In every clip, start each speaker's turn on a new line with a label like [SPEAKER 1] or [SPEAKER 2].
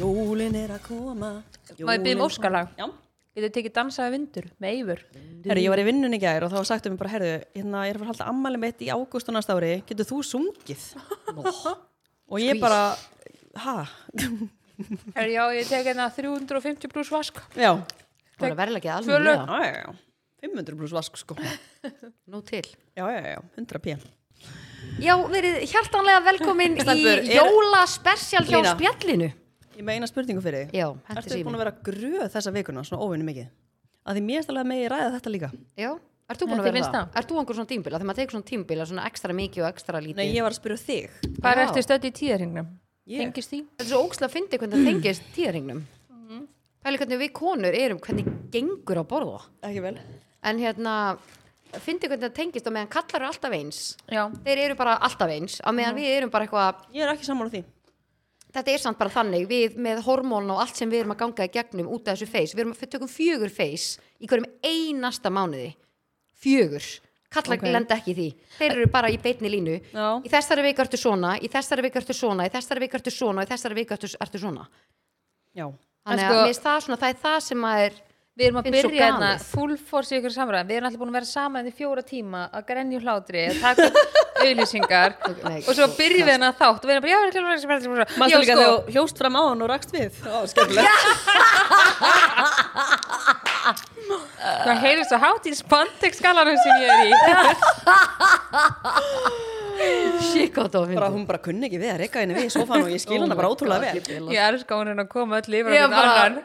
[SPEAKER 1] Jólin er að koma
[SPEAKER 2] Má ég byrja um óskalag?
[SPEAKER 1] Já
[SPEAKER 2] Getur þið tekið dansaði vindur með Eivur?
[SPEAKER 1] Herri, ég var í vinnun í gær og þá sagtum við bara, herri, hérna, ég er að fara að halda ammæli mitt í ágúst og næsta ári, getur þú sungið? og ég bara, ha,
[SPEAKER 2] Er, já, ég tek hérna 350 pluss vask.
[SPEAKER 1] já,
[SPEAKER 3] Það var verðilega ekki
[SPEAKER 2] Tvö
[SPEAKER 3] alveg
[SPEAKER 2] lög.
[SPEAKER 1] já,
[SPEAKER 3] lega.
[SPEAKER 1] já, já, 500 pluss vask, sko, já,
[SPEAKER 3] Nú til.
[SPEAKER 1] já, já, 100 p.
[SPEAKER 3] Já, verið hjartanlega velkomin í
[SPEAKER 1] Stelpur, er-
[SPEAKER 3] jólaspersjal hjá
[SPEAKER 1] Lína.
[SPEAKER 3] spjallinu.
[SPEAKER 1] Ég meina spurningu fyrir þig.
[SPEAKER 3] Já, hentu
[SPEAKER 1] Ertu búin
[SPEAKER 3] sími.
[SPEAKER 1] að vera gröð þessa vikuna, svona óvinni mikið? Að því mér stælega megi ræða þetta líka.
[SPEAKER 3] Já, ert þú búin
[SPEAKER 2] Nei,
[SPEAKER 3] að
[SPEAKER 2] þið
[SPEAKER 3] vera
[SPEAKER 2] finnst
[SPEAKER 3] það?
[SPEAKER 2] það?
[SPEAKER 3] Ert þú einhver svona tímbila? Þegar maður tekur svona tímbila, svona ekstra mikið og ekstra lítið.
[SPEAKER 1] Nei, ég var að spyrja um þig.
[SPEAKER 2] Hvað er
[SPEAKER 3] Já.
[SPEAKER 2] eftir stödd í tíðarhingnum?
[SPEAKER 1] Ég?
[SPEAKER 2] Tengist því?
[SPEAKER 3] Þetta er svo ókslega að fyndi hvernig það tengist tíðarhingnum.
[SPEAKER 1] Mhm.
[SPEAKER 3] Pæli hvernig við konur erum, hvernig gengur að borða.
[SPEAKER 1] Ekki vel.
[SPEAKER 3] En hérna, fyndi hvernig það tengist og meðan kallar eru alltaf eins.
[SPEAKER 2] Já.
[SPEAKER 3] Þeir eru bara alltaf eins, á
[SPEAKER 1] Mhm.
[SPEAKER 3] meðan við erum bara eitthvað,
[SPEAKER 1] Ég er ekki sammála því.
[SPEAKER 3] þetta er samt bara þannig, við með hormón og allt sem við erum að ganga í gegnum út af þessu feys. Við erum að tökum fjögur feys í hverjum einasta mánuði. Fjögur. Kallar
[SPEAKER 2] Ok.
[SPEAKER 3] lenda ekki í því. Þeir eru bara í beitni línu.
[SPEAKER 1] Já.
[SPEAKER 3] Í þessari vika ertu svona, í þessari vika ertu svona, í þessari vika ertu svona, í þessari vika ertu, ertu svona.
[SPEAKER 1] Já.
[SPEAKER 3] Þannig
[SPEAKER 2] En sko-
[SPEAKER 3] að mér finnst það svona, það er það sem að er
[SPEAKER 2] Við erum að
[SPEAKER 3] Finnst svo
[SPEAKER 2] byrja hérna
[SPEAKER 3] galið.
[SPEAKER 2] full force í ykkur samræðan. Við erum alltaf búin að vera saman hérna í fjóra tíma að grenja úr hlátri, að taka upp auðlýsingar
[SPEAKER 3] nei,
[SPEAKER 2] og svo byrjum við hérna þátt og við erum bara, já, við erum að vera kljóra
[SPEAKER 1] Mástu líka
[SPEAKER 2] sko,
[SPEAKER 1] þegar þú hljóst fram á hann og rakst við. Já, skemmtilegt.
[SPEAKER 2] það heyrðist svo hátt í spandekskalanum sem ég er í.
[SPEAKER 3] Shit, hvað það
[SPEAKER 1] bara, hún bara kunni ekki við að reyka henni við í sofan og ég
[SPEAKER 2] Oh
[SPEAKER 1] skil hana bara ótrúlega vel.
[SPEAKER 2] Ég elska hún hérna að koma öll yfir á
[SPEAKER 3] Ég
[SPEAKER 2] einhvern
[SPEAKER 3] bara-
[SPEAKER 2] annan.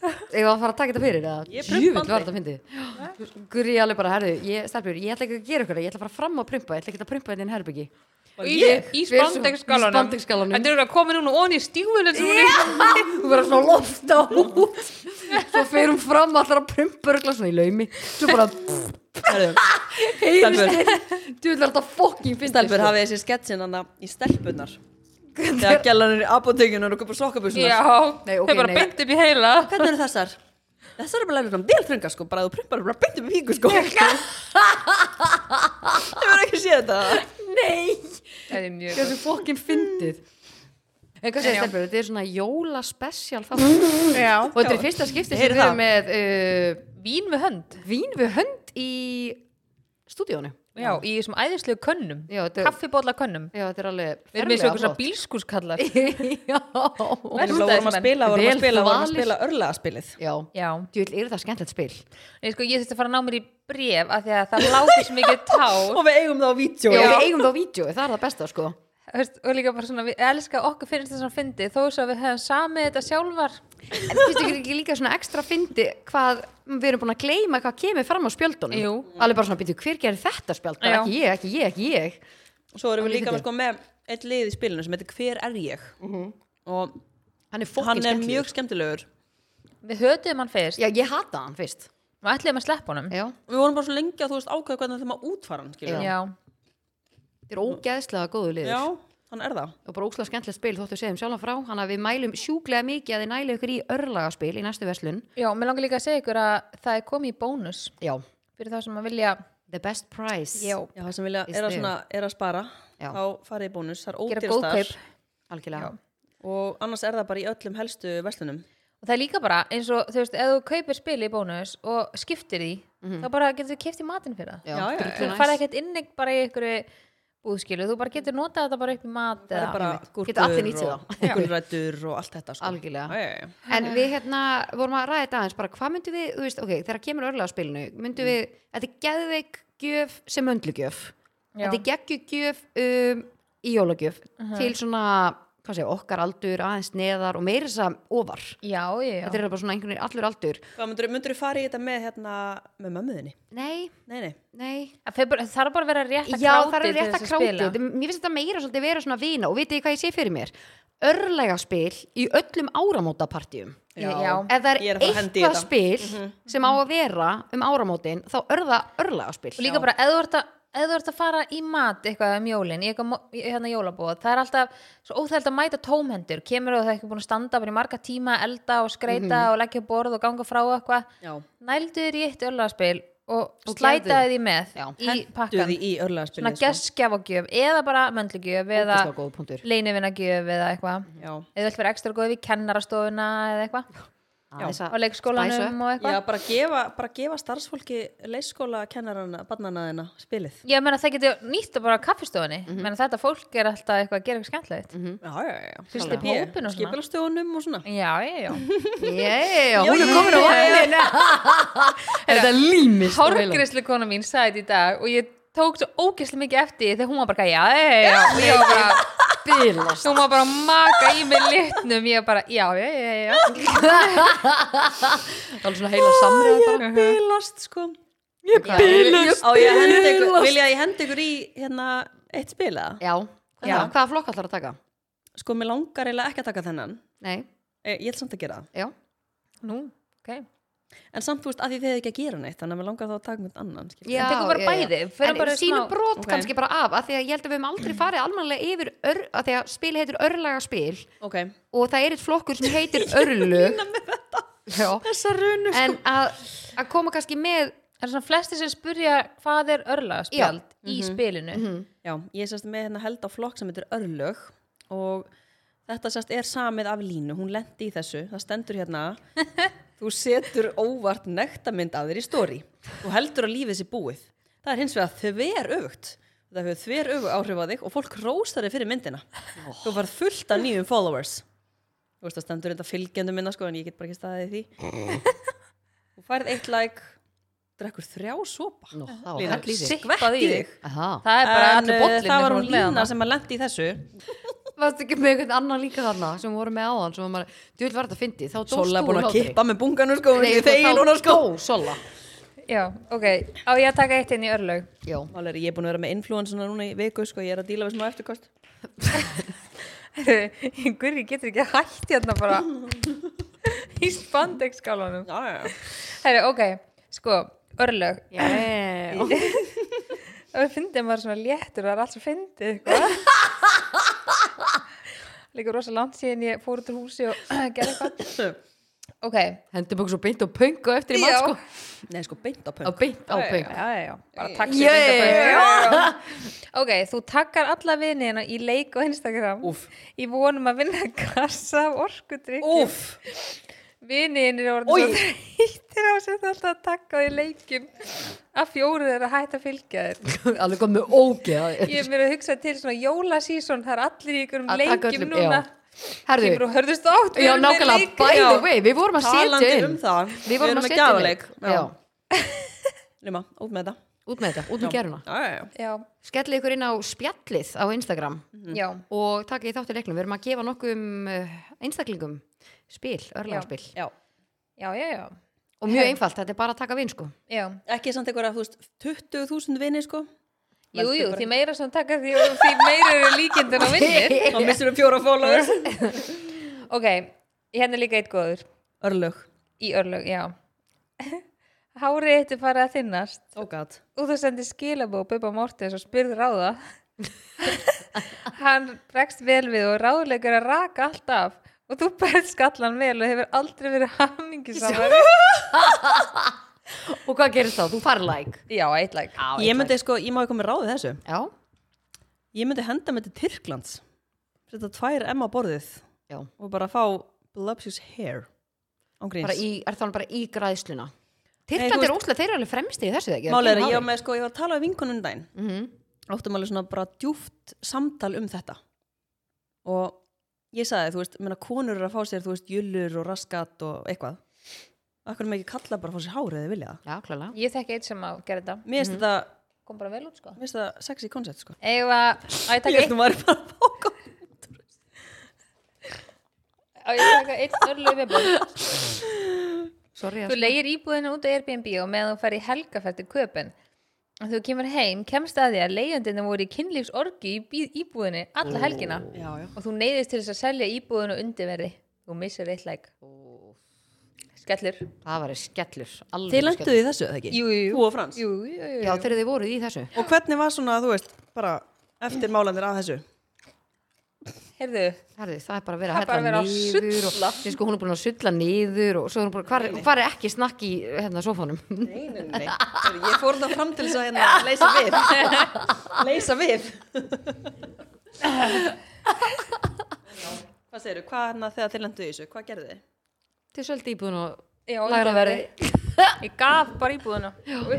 [SPEAKER 3] Ég var að fara að taka þetta fyrir það
[SPEAKER 1] Ég prumpa
[SPEAKER 3] Júvill var
[SPEAKER 1] aldrei.
[SPEAKER 3] þetta að fyndi Guri alveg bara, herðu, ég, stelpjur, ég ætla ekki að gera ykkur Ég ætla bara fram að prumpa, ég ætla ekki að prumpa þetta í herbyggi
[SPEAKER 1] Bara
[SPEAKER 2] Í,
[SPEAKER 1] ég?
[SPEAKER 2] í
[SPEAKER 3] Við erum svo- í
[SPEAKER 2] spandekskalanum.
[SPEAKER 3] spandex-skalanum.
[SPEAKER 2] Þetta er að koma núna onni í stífunum sem hún er.
[SPEAKER 3] Þú verður svona loft á út Svo fer hún fram allar að prumpa Rögla svona í laumi Svo bara,
[SPEAKER 1] Herðu,
[SPEAKER 3] heyrist
[SPEAKER 1] Stelpur.
[SPEAKER 3] þér Þú ætlar þetta fokking fyndi
[SPEAKER 1] Stelpur hafið þessi sketsin hana í stelpunar Þegar gælan er í apotekinu og kupur sokkabussunar
[SPEAKER 2] Já,
[SPEAKER 3] Nei, ok,
[SPEAKER 2] þau bara
[SPEAKER 3] nei.
[SPEAKER 2] beint upp í heila.
[SPEAKER 1] Hvernig eru þessar? Þessar eru bara lærið svona vel frunga sko bara þú prumpar bara beint upp í píku sko Þau verður ekki séð þetta
[SPEAKER 3] Nei,
[SPEAKER 2] Það er mjög
[SPEAKER 3] þessu fokking fyndið En hvað
[SPEAKER 2] En
[SPEAKER 3] segir
[SPEAKER 2] já.
[SPEAKER 3] stelpjur, þetta er svona jólaspecial þáttur.
[SPEAKER 2] Já.
[SPEAKER 3] Og þetta er fyrsta skipti sem
[SPEAKER 1] Heyrið
[SPEAKER 3] við
[SPEAKER 1] það?
[SPEAKER 3] erum með uh,
[SPEAKER 2] Vín með hönd.
[SPEAKER 3] Vín við hönd í stúdíónu
[SPEAKER 2] Já, í þessum æðislegu könnum.
[SPEAKER 3] Já, þetta er-
[SPEAKER 2] Kaffibólla könnum.
[SPEAKER 3] Já, þetta er alveg
[SPEAKER 2] Við erum eins og eitthvað bílskúskallar.
[SPEAKER 3] Já,
[SPEAKER 1] Við vorum að spila, vorum
[SPEAKER 3] Vel
[SPEAKER 1] að spila, vorum að
[SPEAKER 3] valið.
[SPEAKER 1] spila örlega spilið
[SPEAKER 3] já.
[SPEAKER 2] Já.
[SPEAKER 3] Djúl, er það skemmtilegt spil?
[SPEAKER 2] Nei, sko, ég þurfti að fara að ná mér í bref af því að það láti svo mikið tár.
[SPEAKER 1] Og við eigum það á vídeo
[SPEAKER 3] Já,
[SPEAKER 2] Já.
[SPEAKER 3] við eigum það á vídeo, það er það besta sko
[SPEAKER 2] Veist, og líka bara svona, við elska okkur finnst þess að fyndi þó svo að við höfum samið þetta sjálfar.
[SPEAKER 3] En finnst ykkur ekki líka svona ekstra fyndi hvað við erum búin að gleyma hvað kemur fram á spjöldunum
[SPEAKER 2] Jú.
[SPEAKER 3] Alveg bara svona, býtu, hver gerir þetta spjöld? Það er
[SPEAKER 2] Já.
[SPEAKER 3] ekki ég, ekki ég, ekki ég
[SPEAKER 1] Og svo erum við líka
[SPEAKER 3] Lítið.
[SPEAKER 1] með, sko, með eitt lið í spilinu sem heitir Hver er ég?
[SPEAKER 2] Mhm.
[SPEAKER 1] Og
[SPEAKER 3] Hann er fokkin
[SPEAKER 1] hann er
[SPEAKER 3] skemmtilegur
[SPEAKER 1] mjög skemmtilegur
[SPEAKER 2] Við höfðum hann fyrst
[SPEAKER 3] Já, ég hata hann fyrst
[SPEAKER 2] og ætliðum að sleppa honum.
[SPEAKER 3] Já,
[SPEAKER 1] Við vorum bara svo lengi að þú veist ákveða hvernig þeim að útfara hann skilur
[SPEAKER 2] Já.
[SPEAKER 3] þetta er ógeðslega góðu liður
[SPEAKER 1] Já, hann er það
[SPEAKER 3] og bara óslega skemmtilegt spil þóttu við segjum sjálfan frá hann að við mælum sjúklega mikið að þið næli ykkur í örlagaspil í næstu verslun
[SPEAKER 2] Já, mér langar líka að segja ykkur að það er komið í bónus
[SPEAKER 3] já,
[SPEAKER 2] fyrir þá sem að vilja
[SPEAKER 3] the best price
[SPEAKER 2] já,
[SPEAKER 1] Já, það sem vilja,
[SPEAKER 3] Í
[SPEAKER 1] er að,
[SPEAKER 3] sniðum.
[SPEAKER 1] svona, er að spara
[SPEAKER 3] Já.
[SPEAKER 1] þá farið í bónus, það er
[SPEAKER 2] gera
[SPEAKER 1] ódýrastar
[SPEAKER 2] góðkaup.
[SPEAKER 3] algjörlega
[SPEAKER 1] og annars er það bara í öllum helstu verslunum
[SPEAKER 2] Og það er líka bara eins og, þú veist, ef þú kaupir spil í bónus og skiptir því, þá bara getur þú kipt í matinn fyrir það.
[SPEAKER 3] Mhm. já,
[SPEAKER 1] Já, já,
[SPEAKER 3] drullu
[SPEAKER 2] Þú
[SPEAKER 3] næs.
[SPEAKER 2] farið ekkert inn ekki bara í ykkur búðskilu, þú bara getur notað þetta bara upp í mat
[SPEAKER 1] það er
[SPEAKER 2] eða-
[SPEAKER 1] bara
[SPEAKER 3] einmitt.
[SPEAKER 1] gúrkur
[SPEAKER 3] Geta allir nýtt sér
[SPEAKER 1] og gulrætur og allt þetta sko. já,
[SPEAKER 3] Algjörlega.
[SPEAKER 1] já, já.
[SPEAKER 3] en við hérna vorum að ræða þetta aðeins bara hvað myndum við, þú veist, ok, þegar kemur örlagaspilinu myndum
[SPEAKER 2] Mm.
[SPEAKER 3] við, þetta er geðveik gjöf sem öndlugjöf
[SPEAKER 2] Já.
[SPEAKER 3] þetta er geggjugjöf um, í jólagjöf til svona, hvað segja, okkar aldur aðeins neðar og meira þess að ofar
[SPEAKER 2] Já, já, já.
[SPEAKER 3] þetta er bara svona einhvern veginn allur aldur
[SPEAKER 1] Hvað myndur, myndur fara í þetta með hérna, með mömmuðinni?
[SPEAKER 3] nei,
[SPEAKER 1] Nei, nei,
[SPEAKER 3] nei
[SPEAKER 2] Það fer bara- þarf bara að vera rétt að
[SPEAKER 3] Já,
[SPEAKER 2] kráti
[SPEAKER 3] það er rétt að kráti Þetta- Mér finnst þetta meira svolítið vera svona vina og vitið þið hvað ég sé fyrir mér örlega spil í öllum áramótapartíum
[SPEAKER 2] Já.
[SPEAKER 1] Já.
[SPEAKER 3] ef það
[SPEAKER 1] Ég
[SPEAKER 3] er
[SPEAKER 1] er að fara að hendi í
[SPEAKER 3] eitthvað
[SPEAKER 1] þetta.
[SPEAKER 3] spil sem á að vera um áramótin þá er það örlega spil
[SPEAKER 2] Og líka bara, ef þú ert að ef þú ert að fara í mat eitthvað um jólin, í eitthvað mo- í hérna jólabóð það er alltaf svo óþægt að mæta tómhendur kemur og það er ekki búin að standa bara í marga
[SPEAKER 3] Mhm.
[SPEAKER 2] tíma elda og skreita og leggja á borð og ganga frá og eitthvað
[SPEAKER 1] já
[SPEAKER 2] nældu þér í eitt örlaðspil og
[SPEAKER 3] Og
[SPEAKER 2] slætaði
[SPEAKER 3] gleðið.
[SPEAKER 2] því með
[SPEAKER 3] Já,
[SPEAKER 2] í pakkan
[SPEAKER 1] Duði í sko.
[SPEAKER 2] svona
[SPEAKER 1] örlaðarspilið
[SPEAKER 2] geskjafagjöf eða bara möndlugjöf eða
[SPEAKER 3] Ógeðslega góður punktur.
[SPEAKER 2] leinivinnagjöf eða eitthvað
[SPEAKER 1] Já.
[SPEAKER 2] eða vilt vera ekstra góð við kennarastofuna eða eitthvað
[SPEAKER 3] Aðeins að
[SPEAKER 2] og
[SPEAKER 3] spice up.
[SPEAKER 2] leikskólanum og eitthvað
[SPEAKER 1] Já, bara gefa, bara gefa starfsfólki leikskóla kennarana, barnanaðina, spilið.
[SPEAKER 2] Ég meina það getur nýtt að bara á kaffistofunni mm meina þetta fólk er alltaf eitthvað að gera eitthvað skemmtilegt
[SPEAKER 3] Mhm.
[SPEAKER 1] Já, já, já. já.
[SPEAKER 2] Fyrsti
[SPEAKER 1] Klálega.
[SPEAKER 2] pópinn og svona.
[SPEAKER 1] Skipulagsstöðunum og svona.
[SPEAKER 2] Já, já, já
[SPEAKER 3] Yeah, hún er
[SPEAKER 1] Jæja.
[SPEAKER 3] komin á vagnin Þetta límist á heilanum.
[SPEAKER 2] Hárgrislu kona mín sagði þetta í dag og ég tók svo ógeðslega mikið eftir því þegar hún var bara eitthvað, já, já, já, já og ég var bara,
[SPEAKER 3] Bilast
[SPEAKER 2] hún var bara að maka í mig litnum, ég var bara, já, já, já, já
[SPEAKER 3] Það er svona heila samræð bara
[SPEAKER 1] Bilast, sko.
[SPEAKER 3] Ég bilast
[SPEAKER 1] Á, ég hendi ykkur, vilja að ég hendi ykkur í hérna eitt spil eða?
[SPEAKER 3] Já,
[SPEAKER 2] Já.
[SPEAKER 3] já. hvaða flokk ætlar að taka?
[SPEAKER 1] Sko, mér langar eiginlega ekki að taka þennan.
[SPEAKER 3] Nei,
[SPEAKER 1] Eh, Ég ætl samt að gera það.
[SPEAKER 3] já
[SPEAKER 2] Nú, ok
[SPEAKER 1] En samt, þú veist, að því þið hefði ekki að gera neitt, þannig að mér langar þá að taka mynd annan, skilur.
[SPEAKER 3] Já,
[SPEAKER 2] tekur bara
[SPEAKER 3] já, já.
[SPEAKER 2] bæði, förum
[SPEAKER 3] En
[SPEAKER 2] bara
[SPEAKER 3] sínum
[SPEAKER 2] smá-
[SPEAKER 3] brot
[SPEAKER 1] Ok. Mm.
[SPEAKER 3] kannski bara af af því að ég held að við höfum aldrei farið almanlega yfir ör, af því að spil heitir örlaga spil
[SPEAKER 1] Ok.
[SPEAKER 3] og það er eitt flokkur sem heitir örlug Já.
[SPEAKER 1] Þessa runu,
[SPEAKER 3] en að, að koma kannski með
[SPEAKER 2] Það er svona flesti sem spurja hvað er örlaðspjald í spilinu
[SPEAKER 3] Mhm.
[SPEAKER 1] Já, ég sérst með hérna held á flokk sem heitir örlög og þetta sérst er samið af línu, hún lendi í þessu, það stendur hérna, þú setur óvart nektamynd af þér í stóri og heldur að lífið sé búið. Það er hins vegar þver öfugt, það hefur þver öfug áhrif á þig og fólk róstar þig fyrir myndina.
[SPEAKER 2] Oh.
[SPEAKER 1] Þú var fullt af nýjum followers. Þú veist það stendur þetta fylgjendum minna sko en ég get bara ekki staðið í því. Þú færð eitt like, drekkur þrjá sopa.
[SPEAKER 3] Nó, það var
[SPEAKER 1] Lína,
[SPEAKER 3] hægt lýsing.
[SPEAKER 1] skvetti
[SPEAKER 2] Sippað í
[SPEAKER 1] í
[SPEAKER 2] þig.
[SPEAKER 1] þig.
[SPEAKER 3] Aha.
[SPEAKER 2] Það er bara
[SPEAKER 1] En,
[SPEAKER 2] allur
[SPEAKER 1] uh,
[SPEAKER 2] bollin
[SPEAKER 1] það var hún lína sem að lendi í þessu
[SPEAKER 3] Varstu ekki með einhvern annan líka þarna sem voru með áðan sem maður, djúvel var þetta fyndið þá dóst þú
[SPEAKER 1] Sola er búin að
[SPEAKER 3] hlátri.
[SPEAKER 1] kippa með bunganum sko
[SPEAKER 3] Nei,
[SPEAKER 1] Nei, þegi
[SPEAKER 3] þá
[SPEAKER 1] núna sko
[SPEAKER 3] dó Sola
[SPEAKER 2] Já, ok, á ég að taka eitt inn í örlaug
[SPEAKER 3] Já,
[SPEAKER 1] Málega, ég er búin að vera með influensuna núna í viku sko, ég er að díla við smá eftirkost
[SPEAKER 2] Gurri getur ekki hætt hérna bara í spandekskálunum
[SPEAKER 1] Já, já,
[SPEAKER 2] Herri, ok, sko, örlaug
[SPEAKER 3] já.
[SPEAKER 2] Það við fyndið maður svona léttur það er allt svo fyndið eitthvað Líka rosa langt síðan ég fór út úr húsi og gerði eitthvað
[SPEAKER 1] já
[SPEAKER 2] Ok,
[SPEAKER 3] Hendum okkur svo beint og pöng og eftir í mann
[SPEAKER 2] Já.
[SPEAKER 3] sko
[SPEAKER 1] Nei, sko, beint á
[SPEAKER 3] Á
[SPEAKER 1] pöng
[SPEAKER 3] beint á
[SPEAKER 1] Já, já,
[SPEAKER 3] pöng
[SPEAKER 2] já, já, já, bara takk
[SPEAKER 3] Yeah.
[SPEAKER 2] yeah. Ok, þú takkar alla vinina í leik og Instagram
[SPEAKER 1] Úff.
[SPEAKER 2] Í vonum að vinna kassa af orkudrykki
[SPEAKER 1] Úf,
[SPEAKER 2] Vinnin er
[SPEAKER 1] Oj.
[SPEAKER 2] orðin svo þreyttir á sér alltaf að takka á því leikum að fjóruð er að hætta að fylgja þér
[SPEAKER 3] Alveg kom með ógeð
[SPEAKER 2] Ég er mér að hugsa til svona jólasíson það er allir í ykkur um
[SPEAKER 3] Að taka
[SPEAKER 2] leikum
[SPEAKER 3] öllum-
[SPEAKER 2] núna
[SPEAKER 3] já. Herðu,
[SPEAKER 2] kemur og hörðust átt við
[SPEAKER 3] Já,
[SPEAKER 2] erum með
[SPEAKER 3] nákvæmlega,
[SPEAKER 2] leik.
[SPEAKER 3] by the
[SPEAKER 1] Já.
[SPEAKER 3] way, við vorum að setja
[SPEAKER 1] talandi
[SPEAKER 3] inn
[SPEAKER 1] um það
[SPEAKER 3] Við
[SPEAKER 1] erum
[SPEAKER 3] vorum að
[SPEAKER 1] með
[SPEAKER 3] setja inn
[SPEAKER 1] gjafaleik.
[SPEAKER 3] leik. Já.
[SPEAKER 1] Lima, út með þetta
[SPEAKER 3] Út með þetta, út með geruna
[SPEAKER 1] Já, já, já
[SPEAKER 2] já,
[SPEAKER 3] Skellið ykkur inn á spjallið á Instagram
[SPEAKER 2] já,
[SPEAKER 3] og takið þátt í leiknum, við erum að gefa nokkum uh, einstaklingum spil, örlagaspil
[SPEAKER 1] Já,
[SPEAKER 2] já, já, já,
[SPEAKER 3] og mjög einfalt, þetta er bara að taka vinn sko
[SPEAKER 2] já.
[SPEAKER 1] ekki samt einhverja, þú veist, 20.000 vini sko
[SPEAKER 2] Jú,
[SPEAKER 1] Veldu
[SPEAKER 2] jú,
[SPEAKER 1] bara-
[SPEAKER 2] því meira sem taka því, því meira eru líkindin og vinnir
[SPEAKER 1] Þá missur við fjóra followers
[SPEAKER 2] Ok, hérna er líka eitt góður
[SPEAKER 1] Örlög,
[SPEAKER 2] í örlög, já Hárið eitt er farið að þinnast
[SPEAKER 1] oh god
[SPEAKER 2] og þú sendir skilabó Bubba Mortis og spyrð ráða Hann bregst vel við og ráðlegur að raka allt af og þú berð skallan vel og hefur aldrei verið hamingisamar
[SPEAKER 3] Og hvað gerist þá? Þú farið like
[SPEAKER 2] Já, eitt læk
[SPEAKER 1] Ég myndi sko, ég má ekki koma með ráðið þessu
[SPEAKER 3] Já,
[SPEAKER 1] Ég myndi henda mig til Tyrklands Setta tvær M á borðið
[SPEAKER 3] já,
[SPEAKER 1] og bara fá Voluptuous Hair án
[SPEAKER 3] bara
[SPEAKER 1] gríns
[SPEAKER 3] í, er það bara í græðsluna
[SPEAKER 1] þú
[SPEAKER 3] Tyrkland er
[SPEAKER 1] veist-
[SPEAKER 3] óslega, þeir eru alveg fremstir í þessu þegar
[SPEAKER 1] Málið er að ég var með sko, ég var að tala við vinkonum um daginn
[SPEAKER 3] mm -hmm.
[SPEAKER 1] áttum alveg svona bara djúft samtal um þetta og ég sagði, þú veist, menna konur eru að fá sér, þú veist, jullur og raskat og eitthvað Akkur er maður ekki kalla bara að fá sér hárið eða vilja það
[SPEAKER 3] Já, klálega
[SPEAKER 2] Ég þekki eitt sem að gera þetta
[SPEAKER 1] Mér finnst þetta,
[SPEAKER 2] kom bara vel út sko
[SPEAKER 1] mér finnst þetta sexy concept sko
[SPEAKER 2] Eða, á ég
[SPEAKER 1] Ég
[SPEAKER 2] taka eitt,
[SPEAKER 1] finnst þú maður bara að fá gott
[SPEAKER 2] á ég taka eitt örlöf viðbót.
[SPEAKER 3] Sorry,
[SPEAKER 2] Þú
[SPEAKER 3] að-
[SPEAKER 2] Sko, leigir íbúðina út á Airbnb og meðan þú færi helgafært til köpun og þú kemur heim, kemst að því að leigjandina voru í kynlífsorgi í bí- íbúðinni alla helgina
[SPEAKER 1] Já, já
[SPEAKER 2] og þú neyðist til þess að selja íbúðinu undirverði þú missir eitt læk Skellur
[SPEAKER 3] það var skellur alveg
[SPEAKER 1] Þið
[SPEAKER 3] skellur.
[SPEAKER 1] lenduðu í þessu, eða ekki?
[SPEAKER 2] Jú, jú, jú.
[SPEAKER 1] Þú og Frans
[SPEAKER 2] Jú, jú, jú, jú.
[SPEAKER 3] Já, þegar þið voruð í þessu
[SPEAKER 1] Og hvernig var svona, þú veist, bara eftir málandir að þessu?
[SPEAKER 2] heyrðu,
[SPEAKER 3] Herðu, það er bara að vera
[SPEAKER 2] Það er bara
[SPEAKER 3] að
[SPEAKER 2] að vera
[SPEAKER 3] hella
[SPEAKER 2] að
[SPEAKER 3] niður og,
[SPEAKER 2] sulla.
[SPEAKER 3] Nei, sko, hún er búin að sulla niður og svo er hún bara, hvar, hvar er ekki snakk í hérna, sofánum?
[SPEAKER 1] Nei, nei, nei. Sorry, Ég fór það fram til þess að hérna leysa við. leysa við. hvað segirðu? Hvað hérna þegar þið lendu í þessu? Hvað gerðu þið?
[SPEAKER 3] Til svolítið íbúin og
[SPEAKER 2] Já,
[SPEAKER 3] læra verði
[SPEAKER 2] ég gaf bara íbúðuna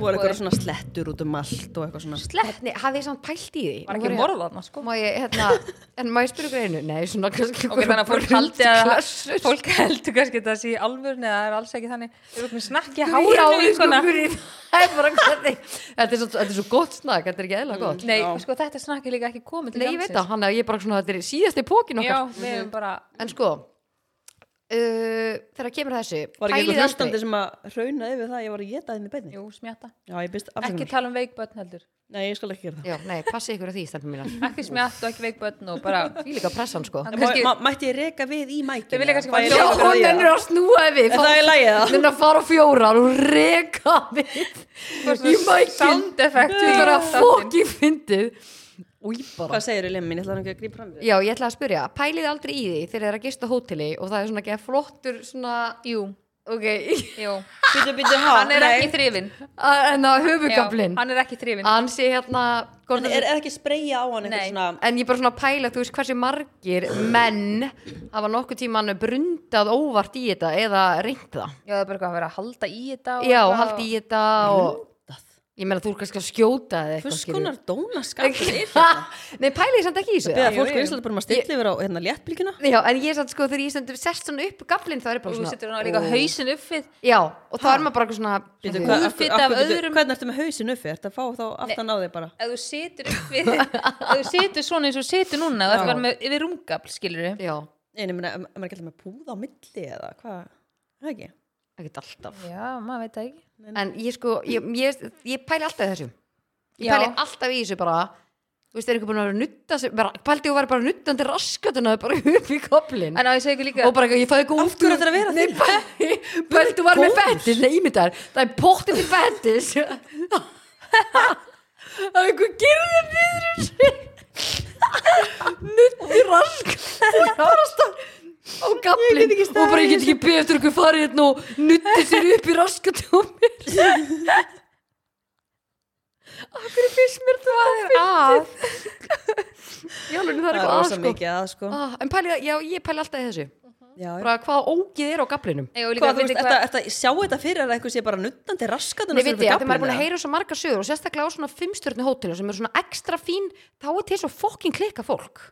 [SPEAKER 1] Voru eitthvað svona slettur út um allt og eitthvað svona.
[SPEAKER 3] Sleppni, hafið þið samt pælt í því?
[SPEAKER 2] var
[SPEAKER 3] Nú
[SPEAKER 2] ekki
[SPEAKER 3] ég-
[SPEAKER 2] morða þarna sko
[SPEAKER 3] Má ég, hérna, en má ég spyrja ykkur einu? Nei, svona kannski
[SPEAKER 2] ok, þannig að fólk haldi að fólk heldur kannski að það sé í alvörni eða það er alls ekki þannig við erum snakki hára á vinkona
[SPEAKER 3] Það er bara hvernig Þetta er svo, þetta er svo gott snakk, þetta er ekki eðla gott
[SPEAKER 2] nei,
[SPEAKER 1] Já.
[SPEAKER 2] sko þetta snakki er líka ekki komið til
[SPEAKER 3] Nei, ég veit það, hann er ég er bara svona, þetta er síðasti pókin
[SPEAKER 2] já,
[SPEAKER 3] okkar
[SPEAKER 2] við erum bara
[SPEAKER 3] En sko, uh, þegar kemur að þessu
[SPEAKER 1] Var ekki
[SPEAKER 3] pælið
[SPEAKER 1] eitthvað
[SPEAKER 3] aldrei-
[SPEAKER 1] hlustandi sem að rauna yfir það að ég var að geta þeim í beinni?
[SPEAKER 2] jú, smjata
[SPEAKER 1] Já, ég byrst
[SPEAKER 2] ekki
[SPEAKER 1] afsökunar.
[SPEAKER 2] tala um veikbötn heldur
[SPEAKER 1] Nei, ég skal ekki gera það.
[SPEAKER 3] Já, nei, passi ykkur að því, stelpum mínar
[SPEAKER 2] ekki smjata og ekki veikbötn og bara
[SPEAKER 3] Því líka pressan, sko
[SPEAKER 2] En
[SPEAKER 1] En
[SPEAKER 2] kannski-
[SPEAKER 1] má- má- Mætti ég reka við í mækina?
[SPEAKER 2] Þau vilja kannski
[SPEAKER 1] Fæ ég
[SPEAKER 2] fá-
[SPEAKER 1] leyfi fyrir því, eða?
[SPEAKER 3] að snúa við
[SPEAKER 1] Er það í lagi, eða?
[SPEAKER 3] Nennir að fara á fjórar og reka við Í mækinn
[SPEAKER 2] sound effect
[SPEAKER 3] Þú þarf að fóki fyndið Új bara
[SPEAKER 1] Hvað segirðu, Lemmin? Ég ætla nú ekki að grípa fram við.
[SPEAKER 3] Já, ég ætla að spyrja, pælið aldrei í því þegar þið er að gista á hóteli og það er svona ekki að flottur svona,
[SPEAKER 2] jú,
[SPEAKER 3] ok,
[SPEAKER 2] jú
[SPEAKER 1] Býtu, býtu, ha?
[SPEAKER 2] hann er
[SPEAKER 1] nei.
[SPEAKER 2] ekki þrifin
[SPEAKER 3] en það höfugablin
[SPEAKER 2] hann er ekki þrifin
[SPEAKER 3] hann sé hérna
[SPEAKER 1] En er, er ekki spreyja á hann eitthvað
[SPEAKER 2] Nei.
[SPEAKER 1] svona...
[SPEAKER 3] en ég er bara svona að pæla, þú veist hversu margir menn hafa nokkuð tíman brundað óvart í þetta eða reynt það
[SPEAKER 2] já, það er bara eitthvað að vera að halda í þetta og
[SPEAKER 3] Já,
[SPEAKER 2] eitthvað.
[SPEAKER 3] haldi í þetta og ég meina þú er kannski að skjóta eða eitthvað
[SPEAKER 1] Hvers konar dónaskapur er
[SPEAKER 3] skilur.
[SPEAKER 1] þetta?
[SPEAKER 3] Nei, pæli ég samt ekki í þessu
[SPEAKER 1] Beða
[SPEAKER 2] Jú,
[SPEAKER 1] fólk
[SPEAKER 2] jú.
[SPEAKER 1] er einstaklega bara um að stilla yfir á hérna léttbylgina
[SPEAKER 3] Já, en ég er samt sko þegar ég stundum sest svona upp gaflinn þá er ég
[SPEAKER 2] og
[SPEAKER 3] bara
[SPEAKER 2] þú
[SPEAKER 3] svona
[SPEAKER 2] setur hann líka
[SPEAKER 1] Ó.
[SPEAKER 2] hausin upp við
[SPEAKER 3] Já, og þá er maður bara eitthvað svona
[SPEAKER 1] Býtu,
[SPEAKER 3] ok.
[SPEAKER 1] hvað- af
[SPEAKER 2] Húðfita
[SPEAKER 1] hverju- af
[SPEAKER 2] af
[SPEAKER 1] hverju- býtu,
[SPEAKER 2] öðrum-
[SPEAKER 1] Hvernig ertu með hausin uppi? Ertu að fá þá aftan á þig bara?
[SPEAKER 2] ef þú situr upp við ef þú situr svona eins og situr núna það er bara með yfir rúmgafl, skilur við
[SPEAKER 3] Já,
[SPEAKER 1] Nei, ég meina, er maður ekki alltaf með púða á milli eða hvað? Er Það ekki?
[SPEAKER 3] ekkert alltaf
[SPEAKER 2] já, maður veit það ekki
[SPEAKER 3] En ég sko, ég, ég, ég pæli alltaf í þessu Ég
[SPEAKER 2] Já.
[SPEAKER 3] pæli alltaf í þessu bara Þú veist, er einhver búin að vera að nutta sig bara, Pældi ég að vera bara nuttandi raskatuna bara upp í gaflinn
[SPEAKER 2] en á ég segi ekki líka
[SPEAKER 3] og bara eitthvað, ég fæði góð
[SPEAKER 1] Af hverju ætlarðu að vera
[SPEAKER 3] Nei, bæ- Bælt, þú var með
[SPEAKER 1] Góður?
[SPEAKER 3] fettis, nei, ímyndar Það er póttið til fettis Það er eitthvað gerðið niður um Nutti rask Rasta á gaflin og bara ég get ekki beðið eftir eitthvað farið hérna og nutti sér upp í raskatómir Akkur fyrst mér þú að þér að Já, lúni, það er
[SPEAKER 1] Það er
[SPEAKER 3] eitthvað að
[SPEAKER 1] rosa
[SPEAKER 3] sko
[SPEAKER 1] mikið að sko
[SPEAKER 3] Ah, en pæli, já, ég pæli alltaf í þessu
[SPEAKER 1] Já, já.
[SPEAKER 3] bara hvað ógið er á gaflinum
[SPEAKER 2] Nei, og líka
[SPEAKER 1] Hvað, þú veist,
[SPEAKER 2] fyndi
[SPEAKER 1] ertu ertu að sjá þetta fyrir að eitthvað sé bara nuttandi raskatun
[SPEAKER 3] Nei, veit ég, þegar maður er búin að heyra svo marga sögur og sérstaklega á svona fimmstjörnu hótelum sem eru svona ekstra fín, þá er til svo fokkin klikka fólk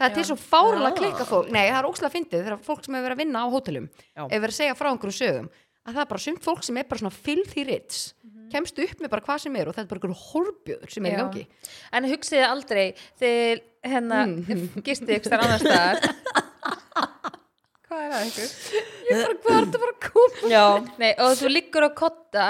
[SPEAKER 3] það er til svo fárlega
[SPEAKER 1] Já.
[SPEAKER 3] klikka fólk nei, það er ókslega fyndið þegar fólk sem hefur verið að vinna á hótelum
[SPEAKER 1] Já.
[SPEAKER 3] hefur verið að segja frá einhverjum sögum að það er bara sumt fólk sem er bara svona filthy rich kemst upp með bara hvað sem er og það er bara einhverjum horfjöður sem er í
[SPEAKER 2] Mhm. Já.
[SPEAKER 3] gangi
[SPEAKER 2] en hugsið aldrei þegar hérna mm. gistið ykkur þar annars staðar hvað er það ykkur?
[SPEAKER 3] ég bara, hvað er þetta bara að koma
[SPEAKER 1] Já,
[SPEAKER 2] Nei, og þú liggur á kotta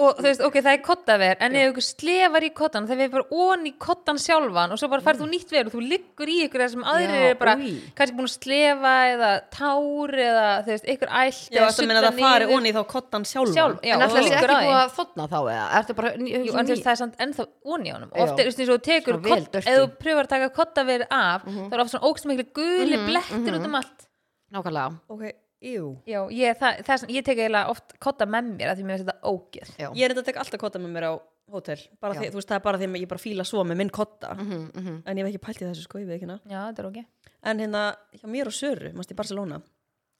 [SPEAKER 2] og þú veist, ok, það er kottaver en ef ykkur slefar í kottan, það er bara on í kottan sjálfan og svo bara færð þú nýtt ver og þú liggur í ykkur þar sem aðrir
[SPEAKER 3] Mm. Já,
[SPEAKER 2] eru bara
[SPEAKER 3] új.
[SPEAKER 2] kannski búin að slefa eða tár eða þú veist, ykkur ælt
[SPEAKER 1] já
[SPEAKER 2] eða
[SPEAKER 1] það meina
[SPEAKER 2] sulla
[SPEAKER 1] það fari
[SPEAKER 2] niður.
[SPEAKER 1] onni þá kottan sjálf
[SPEAKER 2] Sjálf, já,
[SPEAKER 3] en
[SPEAKER 2] og
[SPEAKER 3] alltaf
[SPEAKER 2] þú
[SPEAKER 3] þessi
[SPEAKER 2] liggur
[SPEAKER 3] ekki
[SPEAKER 2] á því
[SPEAKER 3] búið að þotna þá eða ertu bara
[SPEAKER 2] Jú, en þú veist, það er samt ennþá ón í honum
[SPEAKER 3] Já.
[SPEAKER 2] ofta, þú veist, eins og þú tekur
[SPEAKER 3] Svona vel Mhm.
[SPEAKER 2] kott,
[SPEAKER 3] dirty.
[SPEAKER 2] ef þú pröfur að taka kottaver af þá er ofta svona ógst miklu guli
[SPEAKER 3] Mhm,
[SPEAKER 2] blettir út um allt
[SPEAKER 3] nákvæmlega
[SPEAKER 1] Ok, jú
[SPEAKER 2] Já, ég, það, það, er svona- ég tek eiginlega oft kotta með mér að því mér finnst þetta ógeð
[SPEAKER 3] Já.
[SPEAKER 1] Ég er þetta að taka alltaf kotta með mér á hótel bara
[SPEAKER 3] Já.
[SPEAKER 1] því, þú veist, það er bara því að ég bara fíla svo með minn kotta
[SPEAKER 3] Mhm, mhm.
[SPEAKER 1] en ég hef ekki pælt í þessu sko, ég veit ekki hana
[SPEAKER 2] Já, þetta er ógeð
[SPEAKER 1] en hérna, hjá mér og Söru, mást í Barcelona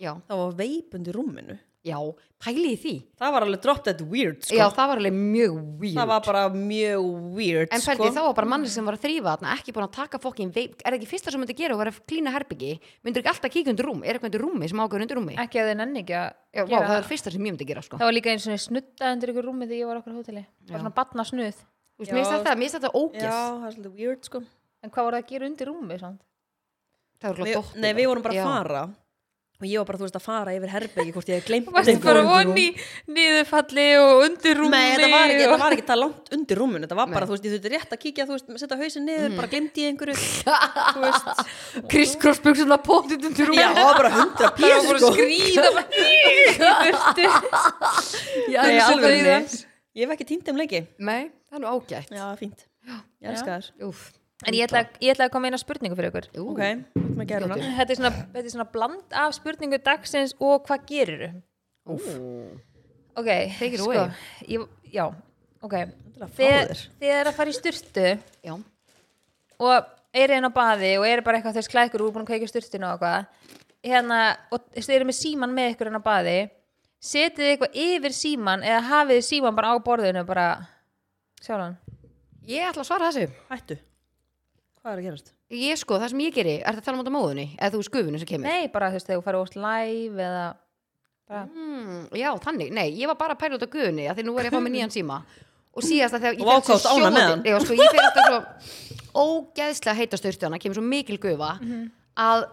[SPEAKER 3] Já,
[SPEAKER 1] þá var veipund í rúminu
[SPEAKER 3] já, pæli í því
[SPEAKER 1] það var alveg drop dead weird sko.
[SPEAKER 3] Já, það var alveg mjög weird
[SPEAKER 1] það var bara mjög weird
[SPEAKER 3] En
[SPEAKER 1] sko.
[SPEAKER 3] pældi, þá var bara manni sem var að þrýfa þarna ekki búin að taka fokkin veip, er það ekki fyrsta sem myndi gera og vera að klína herbyggi, myndir ekki alltaf kíkja undir rúm, er eitthvað undir rúmi sem ákveður undir rúmi?
[SPEAKER 2] ekki að þið nenni ekki að
[SPEAKER 3] Já, vá,
[SPEAKER 2] gera
[SPEAKER 3] það er fyrsta sem ég myndi gera, sko.
[SPEAKER 2] það var líka eins og snutta undir ykkur rúmi þegar ég var okkur á hóteli bara svona batna snuð
[SPEAKER 3] Þú veist, mér finnst
[SPEAKER 1] Já.
[SPEAKER 3] þetta, mér finnst
[SPEAKER 1] já,
[SPEAKER 3] þetta ógjöf.
[SPEAKER 1] það var svolítið weird sko.
[SPEAKER 2] en hvað voru það að gera undir rúmi samt?
[SPEAKER 3] Það var
[SPEAKER 1] við,
[SPEAKER 3] alveg dóttið.
[SPEAKER 1] nei, við vorum bara
[SPEAKER 3] Já.
[SPEAKER 1] að fara og ég var bara, þú veist, að fara yfir herbergi hvort ég hef gleymt
[SPEAKER 2] þú varst bara voni niðurfalli og undir rúmi
[SPEAKER 1] Nei, þetta var, ekki,
[SPEAKER 2] og...
[SPEAKER 1] þetta var ekki það langt undir rúminu þetta var bara, þú veist, ég þurfti rétt að kíkja þú veist, setja hausin
[SPEAKER 3] Mhm.
[SPEAKER 1] niður, bara glemdi ég einhverju þú veist,
[SPEAKER 3] Kristkrossbuksun að pótið undir
[SPEAKER 1] já,
[SPEAKER 3] rúmi.
[SPEAKER 1] það var bara 100
[SPEAKER 2] það var
[SPEAKER 1] pís
[SPEAKER 2] bara
[SPEAKER 1] sko.
[SPEAKER 2] að skrýða bara í burtu.
[SPEAKER 3] Já,
[SPEAKER 1] Nei,
[SPEAKER 2] Eins og
[SPEAKER 1] alveg
[SPEAKER 2] dauðans.
[SPEAKER 1] Ég hef ekki týnt þeim lengi
[SPEAKER 3] Nei, það er nú ágætt.
[SPEAKER 1] Já, fínt Ég elska þær
[SPEAKER 3] Úf,
[SPEAKER 2] en ég ætla, ég ætla að koma með eina spurningu fyrir ykkur
[SPEAKER 3] Jú,
[SPEAKER 1] ok, út með geruna
[SPEAKER 2] þetta er, svona, þetta er svona bland af spurningu dagsins og hvað gerir
[SPEAKER 3] úff.
[SPEAKER 2] ok,
[SPEAKER 3] Take it
[SPEAKER 2] sko
[SPEAKER 3] away.
[SPEAKER 2] ég, já, ok
[SPEAKER 1] að fá
[SPEAKER 2] þegar
[SPEAKER 1] þér.
[SPEAKER 2] þið er að fara í styrtu
[SPEAKER 3] Já,
[SPEAKER 2] og eru inn á baði og eru bara eitthvað þess klækur úr búin að kveika í sturtinu og eitthvað hérna, og þið eru með síman með ykkur inn á baði setið þið eitthvað yfir síman eða hafið þið síman bara á borðinu bara, sjálfan
[SPEAKER 3] ég ætla að svara þessu
[SPEAKER 1] Hættu Hvað er að gerast?
[SPEAKER 3] Ég sko, það sem ég geri, er það að tala um þetta móðunni eða þú skufunni sem kemur
[SPEAKER 2] nei, bara þú veist, þegar þú farið út live eða bara,
[SPEAKER 3] mm, Já, þannig, nei, ég var bara að pæla út á guðunni af því nú er ég að fá mér nýjan síma og síðast að þegar ég
[SPEAKER 1] Og
[SPEAKER 3] fer
[SPEAKER 1] ákvaðst ánægð með hann.
[SPEAKER 3] sjóðandi- já, sko, ég fer alltaf svo ógeðslega heita styrtjana, kemur svo mikil gufa
[SPEAKER 2] Mhm.
[SPEAKER 3] að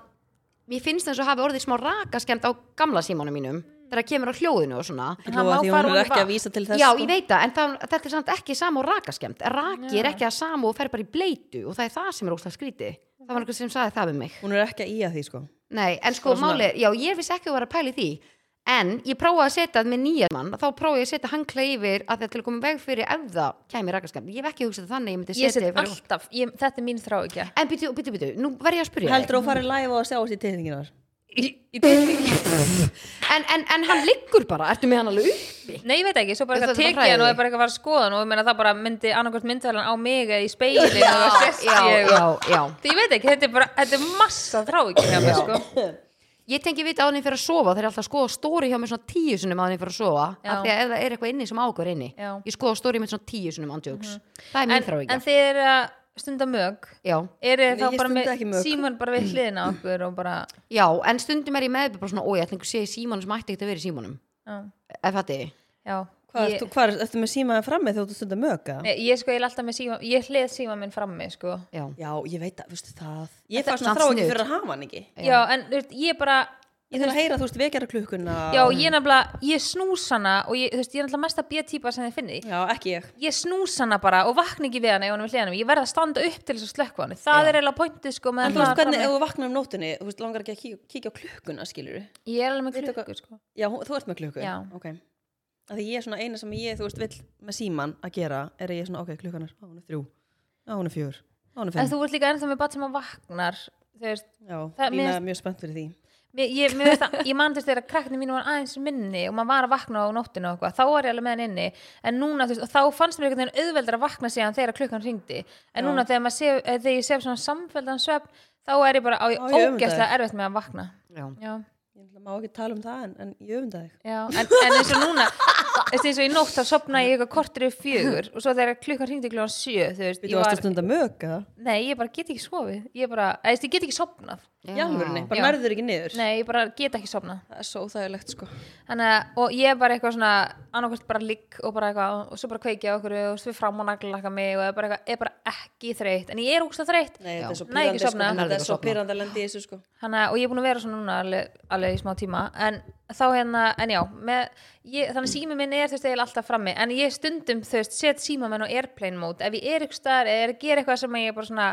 [SPEAKER 3] mér finnst þess að hafi orðið smá rakaskemd á gamla símanum mínum þegar það kemur á hljóðinu og svona
[SPEAKER 2] En
[SPEAKER 1] Ég
[SPEAKER 2] hann
[SPEAKER 1] lofa
[SPEAKER 2] má
[SPEAKER 1] því
[SPEAKER 2] fara
[SPEAKER 1] hún er
[SPEAKER 2] ofan í
[SPEAKER 1] ekki að
[SPEAKER 2] vatn.
[SPEAKER 1] vísa til þess
[SPEAKER 3] Já,
[SPEAKER 1] sko.
[SPEAKER 3] ég veit það, en það, þetta er samt ekki sama og rakaskemmt Raki er ekki að sama og fer bara í bleitu og það er það sem er óslega skríti Það var einhver sem saði það við mig
[SPEAKER 1] Hún er ekki að ía því sko
[SPEAKER 3] Nei, en sko
[SPEAKER 1] svona-
[SPEAKER 3] málið, já, ég vissi ekki að vera að pæla í því En ég prófaði að setja það með nýja mann Þá prófaði ég að setja hangla yfir að þetta til að koma í veg fyrir ef það kæmi rakaskemmt Ég hef ekki hugsað þannig, að ég myndi
[SPEAKER 2] ég
[SPEAKER 3] setja
[SPEAKER 2] set
[SPEAKER 3] yfir all...
[SPEAKER 2] alltaf, ég, þetta er mín þrá ekki
[SPEAKER 3] En býtu, býtu, býtu, nú verð ég að spyrja
[SPEAKER 1] Heldur þú að fara í live og að sjá þessi tilhengina þar?
[SPEAKER 2] í, í tilfinningu
[SPEAKER 3] þig en, en, en hann liggur bara, ertu með hann alveg uppi?
[SPEAKER 2] Nei, ég veit ekki, svo bara
[SPEAKER 3] Þetta
[SPEAKER 2] eitthvað
[SPEAKER 3] er bara
[SPEAKER 2] tekið hann og
[SPEAKER 3] hræðilegt.
[SPEAKER 2] er bara eitthvað að fara að skoða hann og ég meina það bara myndi annarkvæmt myndvælan á mig eða í speilin og það sérst
[SPEAKER 3] já,
[SPEAKER 2] ég
[SPEAKER 3] já,
[SPEAKER 2] og...
[SPEAKER 3] já
[SPEAKER 2] Því ég veit ekki, þetta er bara, þetta er massa þrá ekki hjá mér, sko
[SPEAKER 3] Ég tengi vita á hann fyrir að sofa, þeir eru alltaf að skoða stóri hjá mér svona tíu sinum að hann fyrir að sofa
[SPEAKER 2] Já.
[SPEAKER 3] af því að ef það er eitthvað inni sem ákvar inni
[SPEAKER 2] Já.
[SPEAKER 3] ég skoða stóri mitt svona tíu sinum andjóks mm Það er mín
[SPEAKER 2] En,
[SPEAKER 3] þráhyggja
[SPEAKER 2] en þið eru að stunda mög
[SPEAKER 3] Já.
[SPEAKER 1] Nei,
[SPEAKER 2] Eru þið
[SPEAKER 1] ég
[SPEAKER 2] þá bara
[SPEAKER 1] stunda
[SPEAKER 2] með
[SPEAKER 1] ekki mög.
[SPEAKER 2] síman bara við hliðina á okkur og bara
[SPEAKER 3] Já, en stundum er ég meðbyr bara svona, ó, ég ætla einhver sé í símanum sem ætti ekkert að vera í símanum
[SPEAKER 2] Já,
[SPEAKER 3] Ef þetta er
[SPEAKER 2] já
[SPEAKER 1] Hvað
[SPEAKER 2] ég,
[SPEAKER 1] ertu, hvað er, ertu með símaðið frammi þegar þú stundar möka?
[SPEAKER 2] ég, ég sko, ég er alltaf með síman, ég hlið síman minn frammi, sko
[SPEAKER 3] Já,
[SPEAKER 1] Já, ég veit að, veistu það Ég fæ svona
[SPEAKER 3] er samt
[SPEAKER 1] þrá ekki
[SPEAKER 3] snuð.
[SPEAKER 1] fyrir að hafa hann ekki
[SPEAKER 2] Já, en þú veist, ég bara
[SPEAKER 1] Ég þarf að heyra, þú veist, vekjara klukkuna
[SPEAKER 2] Já, ég nefnilega, ég snús hana og ég, þú veist, ég er náttúrulega mesta B-típa sem þið finni
[SPEAKER 1] ekki ég
[SPEAKER 2] ég snús hana bara og vakna ekki við hana ef hún er við hliðanum, ég verð að standa upp til þess að slökka hann það er eiginlega pointið sko með
[SPEAKER 1] En þú veist,
[SPEAKER 2] hann
[SPEAKER 1] hvernig, ef
[SPEAKER 2] frammi.
[SPEAKER 1] þú vaknar um nóttinni Þú veist, langar ekki að kíkja, kíkja á klukkuna, skilur
[SPEAKER 2] ég er alveg með
[SPEAKER 1] Veitu
[SPEAKER 2] klukku sko
[SPEAKER 1] Já, hún- þú ert með klukku?
[SPEAKER 2] Já.
[SPEAKER 1] Ok. Af því ég er svona eina sem ég, þú veist, vill með síman að gera, er að ég er svona, ok, klukkan er, á hún er þrjú, á hún er fjör, á hún er
[SPEAKER 2] en
[SPEAKER 1] fimm.
[SPEAKER 2] þú ert líka ennþá með bat sem að vaknar þú veist,
[SPEAKER 1] Já,
[SPEAKER 2] það-
[SPEAKER 1] Lína
[SPEAKER 2] mér-
[SPEAKER 1] er mjög spennt fyrir því.
[SPEAKER 2] mér, ég, mér veist að, ég man þess þegar krakkni mínu var aðeins minni og maður var að vakna á nóttinu og eitthvað, þá var ég alveg með hann inni en núna, þú veist, og þá fannst mér einhvern veginn auðveldar að vakna síðan þegar klukkan ringdi en núna þegar, maður sef, eh, þegar ég sef svona samfeldan svefn þá er ég bara
[SPEAKER 1] Á,
[SPEAKER 2] á,
[SPEAKER 1] ég öfunda
[SPEAKER 2] ógeðslega erfitt með að vakna
[SPEAKER 3] já,
[SPEAKER 2] já
[SPEAKER 1] Ég náttúrulega má ekki tala um það, en, en ég öfunda þig.
[SPEAKER 2] Já, en, en eins og núna eftir eins og í nótt þá sopna ég eitthvað kortur yfir fjögur og svo þegar klukkan hringdi klukkan sjö þú veist,
[SPEAKER 1] Við
[SPEAKER 2] ég
[SPEAKER 1] þú varst
[SPEAKER 2] var,
[SPEAKER 1] að stunda mög, eða?
[SPEAKER 2] nei, ég bara get ekki sofið ég bara, eða þú veist, ég get ekki sopnað
[SPEAKER 1] Já, alvörinni,
[SPEAKER 2] Já.
[SPEAKER 1] bara nærður ekki niður.
[SPEAKER 2] nei, ég bara get ekki sopnað
[SPEAKER 1] Það er svo þægilegt, sko.
[SPEAKER 2] Þannig, að- og ég er bara eitthvað svona annarkvæmt bara ligg og bara eitthvað og svo bara kveiki á okkur og svo fram og naglaka mig og er bara, eitthvað, er bara ekki þreytt en ég er úkslega þreytt
[SPEAKER 1] Nei, þetta er svo
[SPEAKER 2] Nei, ekki
[SPEAKER 1] pyrrandi, sko.
[SPEAKER 2] sofna.
[SPEAKER 1] Þetta
[SPEAKER 3] Nærðu
[SPEAKER 1] er
[SPEAKER 3] ekki
[SPEAKER 1] svo
[SPEAKER 3] að sofna.
[SPEAKER 1] pyrrandi að lendi í þessu, sko.
[SPEAKER 2] Hanna, og ég er búin að vera svona núna alveg, alveg í smá tíma en þá hérna, en já með, ég, þannig sími minn er þú veist eiginlega alltaf frammi en ég stundum þú veist set síma minn á airplane mode ef ég er ykkur staðar eða er að gera eitthvað sem ég er bara svona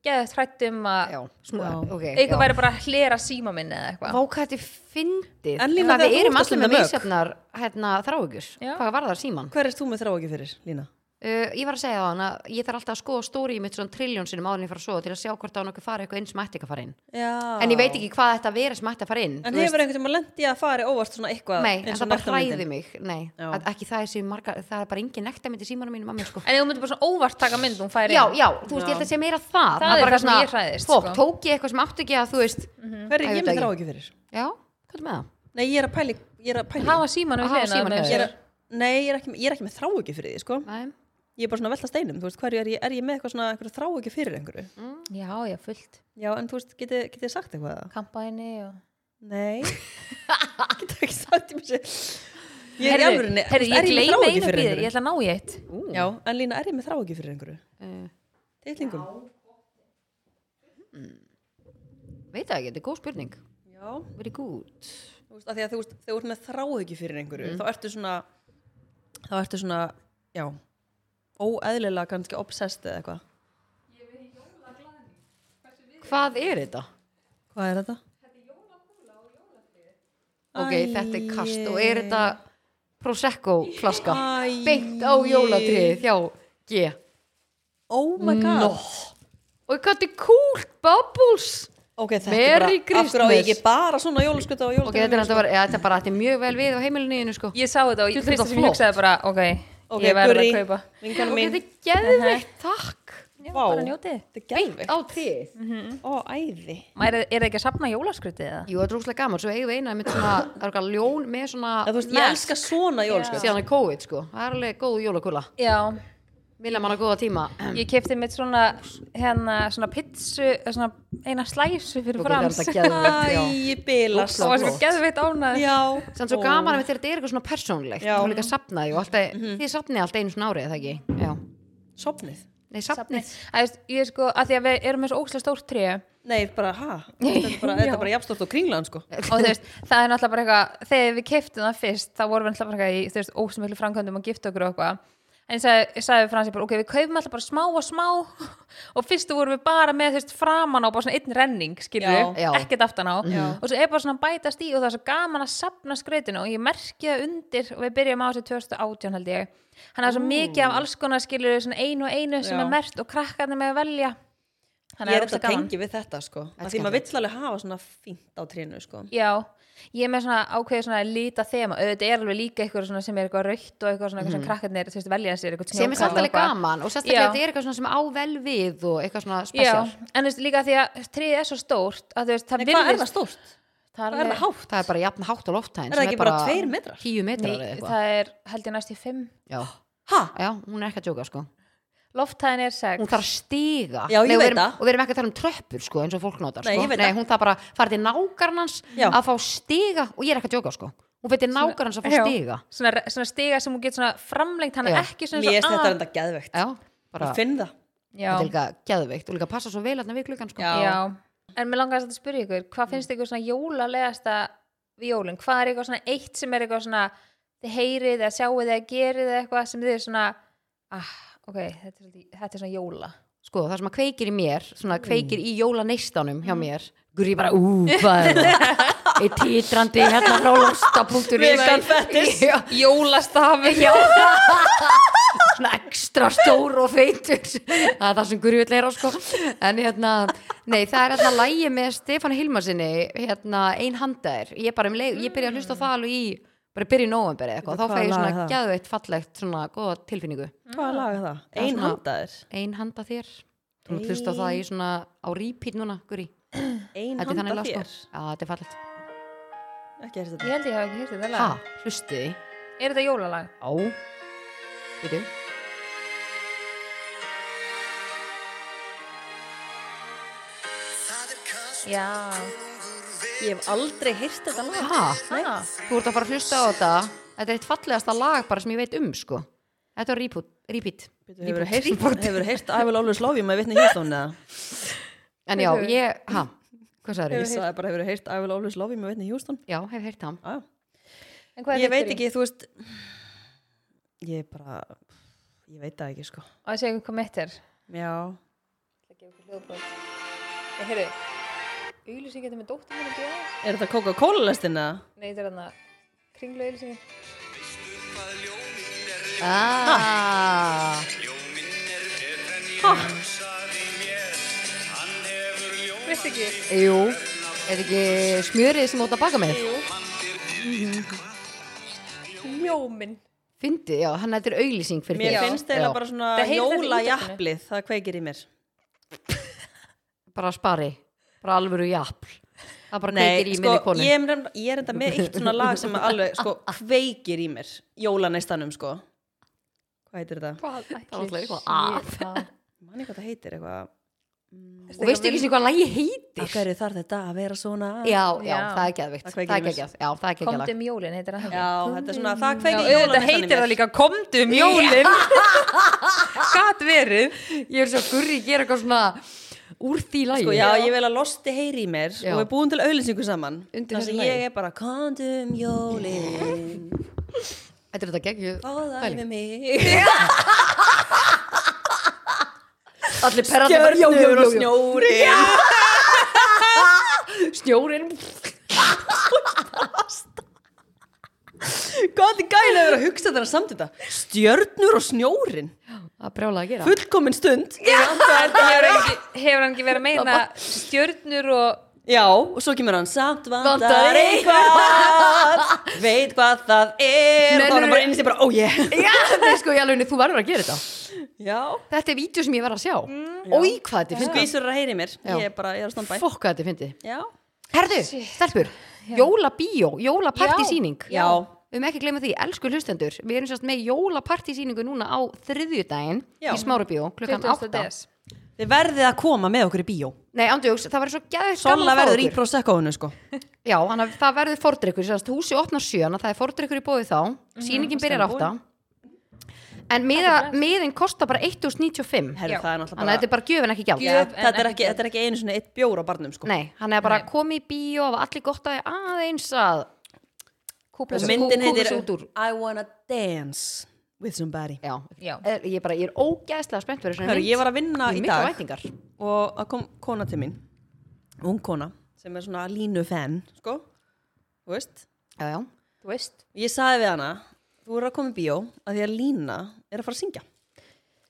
[SPEAKER 2] geðið trættum að
[SPEAKER 3] já, smá,
[SPEAKER 1] Já.
[SPEAKER 3] ok já.
[SPEAKER 2] eitthvað væri bara að hlera síma minn eða
[SPEAKER 3] Vá,
[SPEAKER 2] eitthvað
[SPEAKER 3] hvað þetta er fyndið
[SPEAKER 1] En Lína,
[SPEAKER 3] Hvað
[SPEAKER 1] þegar þú
[SPEAKER 3] við
[SPEAKER 1] ert
[SPEAKER 3] erum
[SPEAKER 1] að
[SPEAKER 3] allir
[SPEAKER 1] stunda
[SPEAKER 3] með
[SPEAKER 1] mök.
[SPEAKER 3] misjafnar hérna, þráhyggjur
[SPEAKER 2] Já.
[SPEAKER 3] Hvað var það síman?
[SPEAKER 1] Hver erst þú með þrá ekki fyrir, Lína?
[SPEAKER 3] Uh, ég var að segja það hann að ég þarf alltaf að skoða stóri mitt svona triljón sinum áður en ég fara að sofa til að sjá hvort það nokkuð fara eitthvað inn sem ætti ekki að fara inn
[SPEAKER 1] Já.
[SPEAKER 3] En ég veit ekki hvað þetta vera sem ætti að fara inn
[SPEAKER 1] Ah. En
[SPEAKER 3] þú veist.
[SPEAKER 1] hefur einhvern tímann lent í að fara óvart svona eitthvað
[SPEAKER 3] Nei, en
[SPEAKER 1] eins og
[SPEAKER 3] það bara
[SPEAKER 1] nektarmyndin?
[SPEAKER 3] hræði mig Nei,
[SPEAKER 1] Já.
[SPEAKER 3] að, ekki það er, sem margar, það er bara engin nektarmynd í símanum mínum að mér sko
[SPEAKER 2] en ef þú myndir bara svona óvart taka mynd og hún færi
[SPEAKER 3] Já,
[SPEAKER 2] inn
[SPEAKER 3] já, þú veist, ég held að sé meira það
[SPEAKER 2] Það er það
[SPEAKER 3] bara eitthvað
[SPEAKER 2] sem
[SPEAKER 3] svona,
[SPEAKER 2] ég hræðist, sko.
[SPEAKER 3] fokk,
[SPEAKER 2] Mhm.
[SPEAKER 3] tók ég eitthvað sem átti ekki að, þú veist
[SPEAKER 1] Hver er
[SPEAKER 3] Æ, ég
[SPEAKER 1] ég
[SPEAKER 3] veit
[SPEAKER 1] með
[SPEAKER 3] ekki.
[SPEAKER 1] þrá ekki fyrir?
[SPEAKER 3] Já, hvað er með það?
[SPEAKER 1] Nei, ég er að pæli, ég er að pæli
[SPEAKER 2] hafa síman við
[SPEAKER 3] Að hafa
[SPEAKER 2] hliðina
[SPEAKER 3] símann
[SPEAKER 2] með
[SPEAKER 3] hjá
[SPEAKER 1] ég
[SPEAKER 2] sér.
[SPEAKER 1] er, Nei, ég er ekki, ég er ekki með þrá ekki fyrir því, sko
[SPEAKER 3] Nei,
[SPEAKER 1] Ég er bara svona að velta steinum, þú veist, hverju er ég, er ég með eitthvað svona eitthvað þrá ekki fyrir einhverju
[SPEAKER 3] Mm.
[SPEAKER 2] já, já, fullt
[SPEAKER 1] Já, en þú veist, getið geti ég sagt eitthvað það?
[SPEAKER 2] kampaðinni og
[SPEAKER 1] Nei Getið ekki sagt ég mér sér Ég er í
[SPEAKER 2] Heyrðu,
[SPEAKER 1] alvörinni,
[SPEAKER 2] heyrðu,
[SPEAKER 1] þú veist,
[SPEAKER 2] ég
[SPEAKER 1] er ég með
[SPEAKER 2] gleyma
[SPEAKER 1] þrá
[SPEAKER 2] einu
[SPEAKER 1] ekki fyrir
[SPEAKER 2] bíði, ég
[SPEAKER 1] einhverju?
[SPEAKER 2] ætla að ná í eitt
[SPEAKER 1] Já, en Lína, er ég með þrá ekki fyrir einhverju?
[SPEAKER 3] uh,
[SPEAKER 1] Teitlingum?
[SPEAKER 3] veit það ekki, þetta er góð spurning
[SPEAKER 1] Já Þú
[SPEAKER 3] Very good
[SPEAKER 1] veist, af því að þú veist, þegar þú ert með þrá ekki fyrir einhverju Þá ertu svona, þá ertu svona, já Óeðlilega kannski obsessed eða eitthvað
[SPEAKER 3] Hvað er þetta?
[SPEAKER 1] Hvað er þetta?
[SPEAKER 3] Ok,
[SPEAKER 1] Æi.
[SPEAKER 3] þetta er kast og er þetta Prosecco flaska
[SPEAKER 1] Æi.
[SPEAKER 3] beint á jólatrið hjá G
[SPEAKER 1] Oh my god
[SPEAKER 3] Nó. og hvað er cool, bubbles
[SPEAKER 1] ok, þetta er
[SPEAKER 3] Merry
[SPEAKER 1] bara, af hverju á ég
[SPEAKER 3] Christmas.
[SPEAKER 1] ekki bara svona jólaskut og
[SPEAKER 3] ok, þetta er,
[SPEAKER 1] jólaskut
[SPEAKER 3] alltaf, bara- ja, þetta er bara þetta er mjög vel við á heimilinu sko.
[SPEAKER 2] Ég sá þetta og
[SPEAKER 3] Jú,
[SPEAKER 2] ég
[SPEAKER 3] þetta er
[SPEAKER 2] fyrst sem ég
[SPEAKER 3] flott.
[SPEAKER 2] hugsaði bara, ok,
[SPEAKER 1] ok,
[SPEAKER 2] ég verður
[SPEAKER 1] Guri,
[SPEAKER 2] að kaupa.
[SPEAKER 1] vinkonu
[SPEAKER 3] ok,
[SPEAKER 1] mín
[SPEAKER 3] þetta er geðveikt, takk
[SPEAKER 2] Já,
[SPEAKER 1] Vá.
[SPEAKER 2] bara njótið.
[SPEAKER 1] þetta er gæðvegt
[SPEAKER 3] á tríð
[SPEAKER 1] ó, æði
[SPEAKER 2] Mæri, er það ekki að sapna jólaskrutið eða?
[SPEAKER 3] Jú, þetta er rúslega gaman, svo eigum við eina með svona, það er okkar ljón með svona
[SPEAKER 1] Eða, þú veist, ég elska svona jólaskut
[SPEAKER 3] síðan í COVID, sko, það er alveg góð jólakula
[SPEAKER 2] Já,
[SPEAKER 3] Vilja manna góða tíma
[SPEAKER 2] ég kefti mitt svona, hérna, svona pizzu, eh, svona eina slæsu fyrir
[SPEAKER 3] Ok,
[SPEAKER 2] okay, frans.
[SPEAKER 3] þetta er geðveikt, já.
[SPEAKER 1] æ, ég bilast
[SPEAKER 2] Það var svo
[SPEAKER 3] flott.
[SPEAKER 2] geðveitt ánað.
[SPEAKER 1] já,
[SPEAKER 3] Sann svo
[SPEAKER 1] Ó.
[SPEAKER 3] gaman að þetta er eitthvað svona persónlegt
[SPEAKER 1] Já. Mhm.
[SPEAKER 3] og líka sapnaði og alltaf, þið sapnið alltaf einu svona árið, er það ekki? Já,
[SPEAKER 1] sopnið
[SPEAKER 3] nei, sapnið
[SPEAKER 2] Það veist, ég er sko, að því að við erum með svo óslega stórt tríu
[SPEAKER 1] nei, bara, ha, þetta er bara, þetta er bara jafnstort og kringlan, sko
[SPEAKER 2] og þú veist, það er náttúrulega bara eitthvað, þegar við keftum það fyrst, þá vorum við náttúrulega bara eitthvað í, þú veist, óslega miklu framkvæmdum og gifta okkur og eitthvað. En ég sagði, ég sagði við frans, ég bara, ok, við kaupum alltaf bara smá og smá og fyrstu vorum við bara með, þú veist, framan á bara svona einn renning, skilju,
[SPEAKER 3] Já. Já.
[SPEAKER 2] ekkert aftan á.
[SPEAKER 1] Já. Mhm.
[SPEAKER 2] Og svo er bara svona að bætast í og það er svo gaman að sapna skrautinu og ég merki það undir og við byrjum á þessu 2018 held ég. Þannig að svo mikið af alls konar skilur svona einu og einu sem
[SPEAKER 1] Mm. Já.
[SPEAKER 2] er mert og krakkarnir með að velja.
[SPEAKER 1] ég er
[SPEAKER 2] rosa
[SPEAKER 1] þetta
[SPEAKER 2] gaman.
[SPEAKER 1] tengi við þetta, sko af því
[SPEAKER 3] skemmtilegt.
[SPEAKER 1] maður vill alveg hafa svona fínt á trínu, sko
[SPEAKER 2] Já, ég er með svona ákveðið svona líta þema, auðvitað er alveg líka eitthvað svona sem er eitthvað raukt og eitthvað svona eitthvað sem krakkarnir þú veist, velja sér eitthvað
[SPEAKER 3] Mhm. sem er
[SPEAKER 2] snjókarl
[SPEAKER 3] samt alveg
[SPEAKER 2] og eitthvað.
[SPEAKER 3] gaman og sérstaklega
[SPEAKER 2] Já.
[SPEAKER 3] þetta er eitthvað svona sem á vel við og eitthvað svona
[SPEAKER 2] Já,
[SPEAKER 3] spesial
[SPEAKER 2] en þú veist líka því að tríð er svo stórt að þú veist, það
[SPEAKER 1] Nei, hvað er það
[SPEAKER 2] virðist
[SPEAKER 1] stórt?
[SPEAKER 2] það
[SPEAKER 1] Hvað er það
[SPEAKER 2] alveg-
[SPEAKER 1] hátt?
[SPEAKER 3] Það er bara jafn hátt á
[SPEAKER 1] Er
[SPEAKER 3] lofthæðin
[SPEAKER 1] það
[SPEAKER 3] sem
[SPEAKER 1] ekki bara tveir metrar?
[SPEAKER 3] Tíu metrar eða
[SPEAKER 2] Ný-
[SPEAKER 3] eitthvað
[SPEAKER 2] Það er held ég næst í 5
[SPEAKER 3] Já.
[SPEAKER 1] Ha?
[SPEAKER 3] Já, hún er ekki að jóka sko
[SPEAKER 2] Lofthæðin er 6
[SPEAKER 3] Hún þarf að stiga
[SPEAKER 1] Já, ég
[SPEAKER 3] Nei, og við
[SPEAKER 1] veit
[SPEAKER 3] erum-
[SPEAKER 1] það.
[SPEAKER 3] Og við erum ekki að tala um tröppur sko eins og fólk notar
[SPEAKER 1] Nei,
[SPEAKER 3] sko
[SPEAKER 1] ég veit
[SPEAKER 3] Nei
[SPEAKER 1] það.
[SPEAKER 3] hún þarf bara að fara til nágarnans
[SPEAKER 1] Já.
[SPEAKER 3] að fá stiga og ég er ekki að jóka sko Hún veitir nágarnans að fá
[SPEAKER 2] Já.
[SPEAKER 3] stiga
[SPEAKER 2] svona, re- svona stiga sem hún getur svona framlengt hann
[SPEAKER 3] Já.
[SPEAKER 2] ekki svona
[SPEAKER 1] Mér er
[SPEAKER 2] svona
[SPEAKER 1] þetta
[SPEAKER 2] að-
[SPEAKER 1] enda geðvegt
[SPEAKER 3] Já, bara
[SPEAKER 1] Ég finn það
[SPEAKER 2] Já,
[SPEAKER 3] Þetta er líka geðveikt og líka passa svo vel hérna við klukkan sko
[SPEAKER 1] Já.
[SPEAKER 2] já En mér langar að spyrja ykkur, hvað finnst ykkur svona jólalegasta við jólin? Hvað er eitthvað svona eitt sem er eitthvað svona þið heyrið eða sjáið eða gerið eða eitthvað sem þið er svona ah, ok, þetta er, svolítið- þetta er svona jóla
[SPEAKER 3] Sko það sem að kveikir í mér Svona
[SPEAKER 1] Mm.
[SPEAKER 3] kveikir í jólaneistanum hjá mér Guri bara ú, hvað er það Eitt títrandi hérna frá losta.is
[SPEAKER 1] Vegan fetish.
[SPEAKER 3] Já,
[SPEAKER 2] Jólastafi já.
[SPEAKER 3] svona ekstra stór og feitur það er það sem Guri vill heyra sko en hérna, nei það er hérna lægi með Stefán Hilmarsinni hérna ein handaðir, ég bara um leið ég byrja að hlusta á það alveg í, bara byrja í november eða eitthvað,
[SPEAKER 1] Veitu,
[SPEAKER 3] þá fæ
[SPEAKER 1] hvaða
[SPEAKER 3] ég
[SPEAKER 1] lag er
[SPEAKER 3] svona
[SPEAKER 1] það?
[SPEAKER 3] gæðveitt fallegt, svona góða tilfinningu
[SPEAKER 1] Hvaða lag er það?
[SPEAKER 3] er
[SPEAKER 1] Ein
[SPEAKER 3] svona-
[SPEAKER 1] handaðir
[SPEAKER 3] ein handa þér, þú mátt hlusta á það í svona á repeat núna, Guri
[SPEAKER 1] Ein
[SPEAKER 3] þetta er þannig
[SPEAKER 1] handa
[SPEAKER 3] lag sko,
[SPEAKER 1] þér
[SPEAKER 3] já þetta er fallegt
[SPEAKER 1] Ekki er
[SPEAKER 2] Ég
[SPEAKER 1] þetta
[SPEAKER 2] held ég hafa ekki heyrt þetta
[SPEAKER 3] ha,
[SPEAKER 2] lag
[SPEAKER 3] hlusti því,
[SPEAKER 2] Er þetta jólalag?
[SPEAKER 3] á veitu
[SPEAKER 2] Já,
[SPEAKER 1] Ég hef aldrei heyrt þetta lag
[SPEAKER 3] ha,
[SPEAKER 2] ha,
[SPEAKER 3] Þú ert að fara að hlusta á þetta Þetta er eitt fallegasta lag bara sem ég veit um sko Þetta er repeat, repeat.
[SPEAKER 1] Hefur heyrt, hefur heyrt I will always love you með vitni Hjörstón eða?
[SPEAKER 3] En já, ég, ha, hvað sagði
[SPEAKER 1] Ég
[SPEAKER 3] þau?
[SPEAKER 1] sagði bara hefur heyrt I will always love you með vitni Hjörstón
[SPEAKER 3] Já, hef heyrt það
[SPEAKER 1] ah,
[SPEAKER 2] En hvað er
[SPEAKER 1] Ég
[SPEAKER 2] þetta
[SPEAKER 1] veit
[SPEAKER 2] fyrir?
[SPEAKER 1] ekki, þú veist Ég bara Ég veit það ekki sko
[SPEAKER 2] Á að segja ykkur hvað mitt er
[SPEAKER 1] Já
[SPEAKER 2] Ég heyrðu Auðlýsing getur með dóttir mér ekki aðeins
[SPEAKER 1] Er þetta Coca-Cola lestin eða?
[SPEAKER 2] Nei, þetta er hann að kringlu auðlýsingin
[SPEAKER 3] ah.
[SPEAKER 2] Veist ekki?
[SPEAKER 3] Jú, er ekki smjörið sem út að baka með?
[SPEAKER 2] Mjómin
[SPEAKER 3] Fyndi, já, hann þetta er auglýsing fyrir
[SPEAKER 1] Mér
[SPEAKER 3] þér.
[SPEAKER 1] finnst eiginlega
[SPEAKER 3] Já.
[SPEAKER 1] bara svona
[SPEAKER 2] Það heyrist þetta í
[SPEAKER 1] jólajaplið Það kveikir í mér
[SPEAKER 3] Bara spari, bara alvöru jafl Það bara kveikir í
[SPEAKER 1] sko,
[SPEAKER 3] minni konu
[SPEAKER 1] ég, er nefnilega- ég er enda með eitt svona lag sem að alveg sko, kveikir í mér jólaneistanum sko. hvað heitir þetta?
[SPEAKER 2] Hvað
[SPEAKER 3] var alltaf
[SPEAKER 2] ætli
[SPEAKER 3] eitthvað
[SPEAKER 2] sé það?
[SPEAKER 1] manni hvað það heitir eitthvað
[SPEAKER 3] Og veistu ekki sem hvað lagi heitir?
[SPEAKER 1] af hverju þarf þetta að vera svona
[SPEAKER 3] Já, já,
[SPEAKER 2] Já.
[SPEAKER 3] það er geðvikt
[SPEAKER 1] Það
[SPEAKER 3] Það
[SPEAKER 1] kveikir
[SPEAKER 3] er
[SPEAKER 1] í mér.
[SPEAKER 3] geggjað, já, það er geggjað lag.
[SPEAKER 2] Komdu um jólin, heitir það
[SPEAKER 1] Já, þetta er svona það
[SPEAKER 2] Já,
[SPEAKER 1] kveikir í
[SPEAKER 2] auðvitað
[SPEAKER 1] jólaneistanum
[SPEAKER 2] heitir það líka Komdu um jólin Gat verið
[SPEAKER 3] Ég er svo gurri, ég er eitthvað svona úr því lægi
[SPEAKER 1] Sko, já, ég vil að losti heyri í mér
[SPEAKER 3] Já.
[SPEAKER 1] og við búum til auðlýsingu saman
[SPEAKER 3] Undir
[SPEAKER 1] Þar
[SPEAKER 3] þessu
[SPEAKER 1] sem
[SPEAKER 3] lagi.
[SPEAKER 1] ég er bara kondum jólin
[SPEAKER 3] Þetta er þetta geggjuð
[SPEAKER 1] fáðar
[SPEAKER 3] pæling.
[SPEAKER 1] við mig
[SPEAKER 3] Allir perrandi bara, já, já,
[SPEAKER 1] gjörnur og
[SPEAKER 3] já,
[SPEAKER 1] snjórin
[SPEAKER 3] já Snjórin
[SPEAKER 1] Góð láti gæla vera að hugsa þetta samt þetta stjörnur og snjórin
[SPEAKER 3] að brjála að gera
[SPEAKER 1] fullkomin stund já.
[SPEAKER 2] hefur hann ekki, hefur hann ekki verið að meina stjörnur og
[SPEAKER 1] og svo kemur hann samt
[SPEAKER 3] Vantar
[SPEAKER 1] vantar eitthvað veit hvað það er
[SPEAKER 3] Nei,
[SPEAKER 1] og þá er
[SPEAKER 3] nei,
[SPEAKER 1] hann bara "Oh, inn í sig bara, ó ég
[SPEAKER 3] Já, nei, sko, ég alveg, þú verður að gera þetta
[SPEAKER 1] já,
[SPEAKER 3] Þetta er vídeo sem ég verð að sjá
[SPEAKER 2] Mm,
[SPEAKER 3] Ói, hvað þetta er fyndið
[SPEAKER 1] skvísur er að heyri mér
[SPEAKER 3] Já.
[SPEAKER 1] ég er bara, ég er að standa bæ
[SPEAKER 3] Fokk hvað þetta er fyndið
[SPEAKER 1] já,
[SPEAKER 3] Herðu, stelpur, jólabíó, jólapartísýning
[SPEAKER 1] Já. Já.
[SPEAKER 3] Við erum ekki að gleyma því, elsku hlustendur Við erum sérst með jólapartísýningu núna á þriðjudaginn
[SPEAKER 1] Já.
[SPEAKER 3] í smárabíó klukkan
[SPEAKER 2] 20.
[SPEAKER 3] 8
[SPEAKER 2] des
[SPEAKER 1] þið verðið að koma með okkur í bíó
[SPEAKER 3] Nei, ándjóks, það verður svo gæðið
[SPEAKER 1] Sola verður í proseccoinu sko
[SPEAKER 3] Já, hann, það verður fordrykkur, sérst húsi opnar sjöna, það er fordrykkur í bóði þá
[SPEAKER 1] Mhm,
[SPEAKER 3] Sýningin byrjar
[SPEAKER 1] stemma
[SPEAKER 3] átta En miða, miðin kostar bara 1095
[SPEAKER 1] Herru,
[SPEAKER 2] Já.
[SPEAKER 1] það er náttúrulega
[SPEAKER 3] Þannig að þetta
[SPEAKER 1] bara
[SPEAKER 3] er bara gjöfin ekki gjald
[SPEAKER 1] Gjöf,
[SPEAKER 2] en
[SPEAKER 1] þetta, er
[SPEAKER 2] ekki
[SPEAKER 1] ekki, þetta er ekki einu svona eitt bjór á barnum sko
[SPEAKER 3] Nei, hann er bara
[SPEAKER 2] Nei.
[SPEAKER 3] komið í bíó og allir gott að aðeins að
[SPEAKER 1] og
[SPEAKER 3] þessu-
[SPEAKER 1] myndin
[SPEAKER 3] kú- kúka
[SPEAKER 1] heitir
[SPEAKER 3] sig út úr.
[SPEAKER 1] I wanna dance with somebody
[SPEAKER 3] Já,
[SPEAKER 2] Já.
[SPEAKER 3] Er, ég, bara, ég er ógæðslega spennt fyrir svona
[SPEAKER 1] Hörru, ég var að vinna í
[SPEAKER 3] mikla
[SPEAKER 1] dag
[SPEAKER 3] væntingar
[SPEAKER 1] og það kom kona til mín ung kona sem er svona línu fan sko, þú veist
[SPEAKER 3] Já, já,
[SPEAKER 2] þú veist
[SPEAKER 1] ég sagði við hana, þú er að koma í bíó að því að lína er að fara að syngja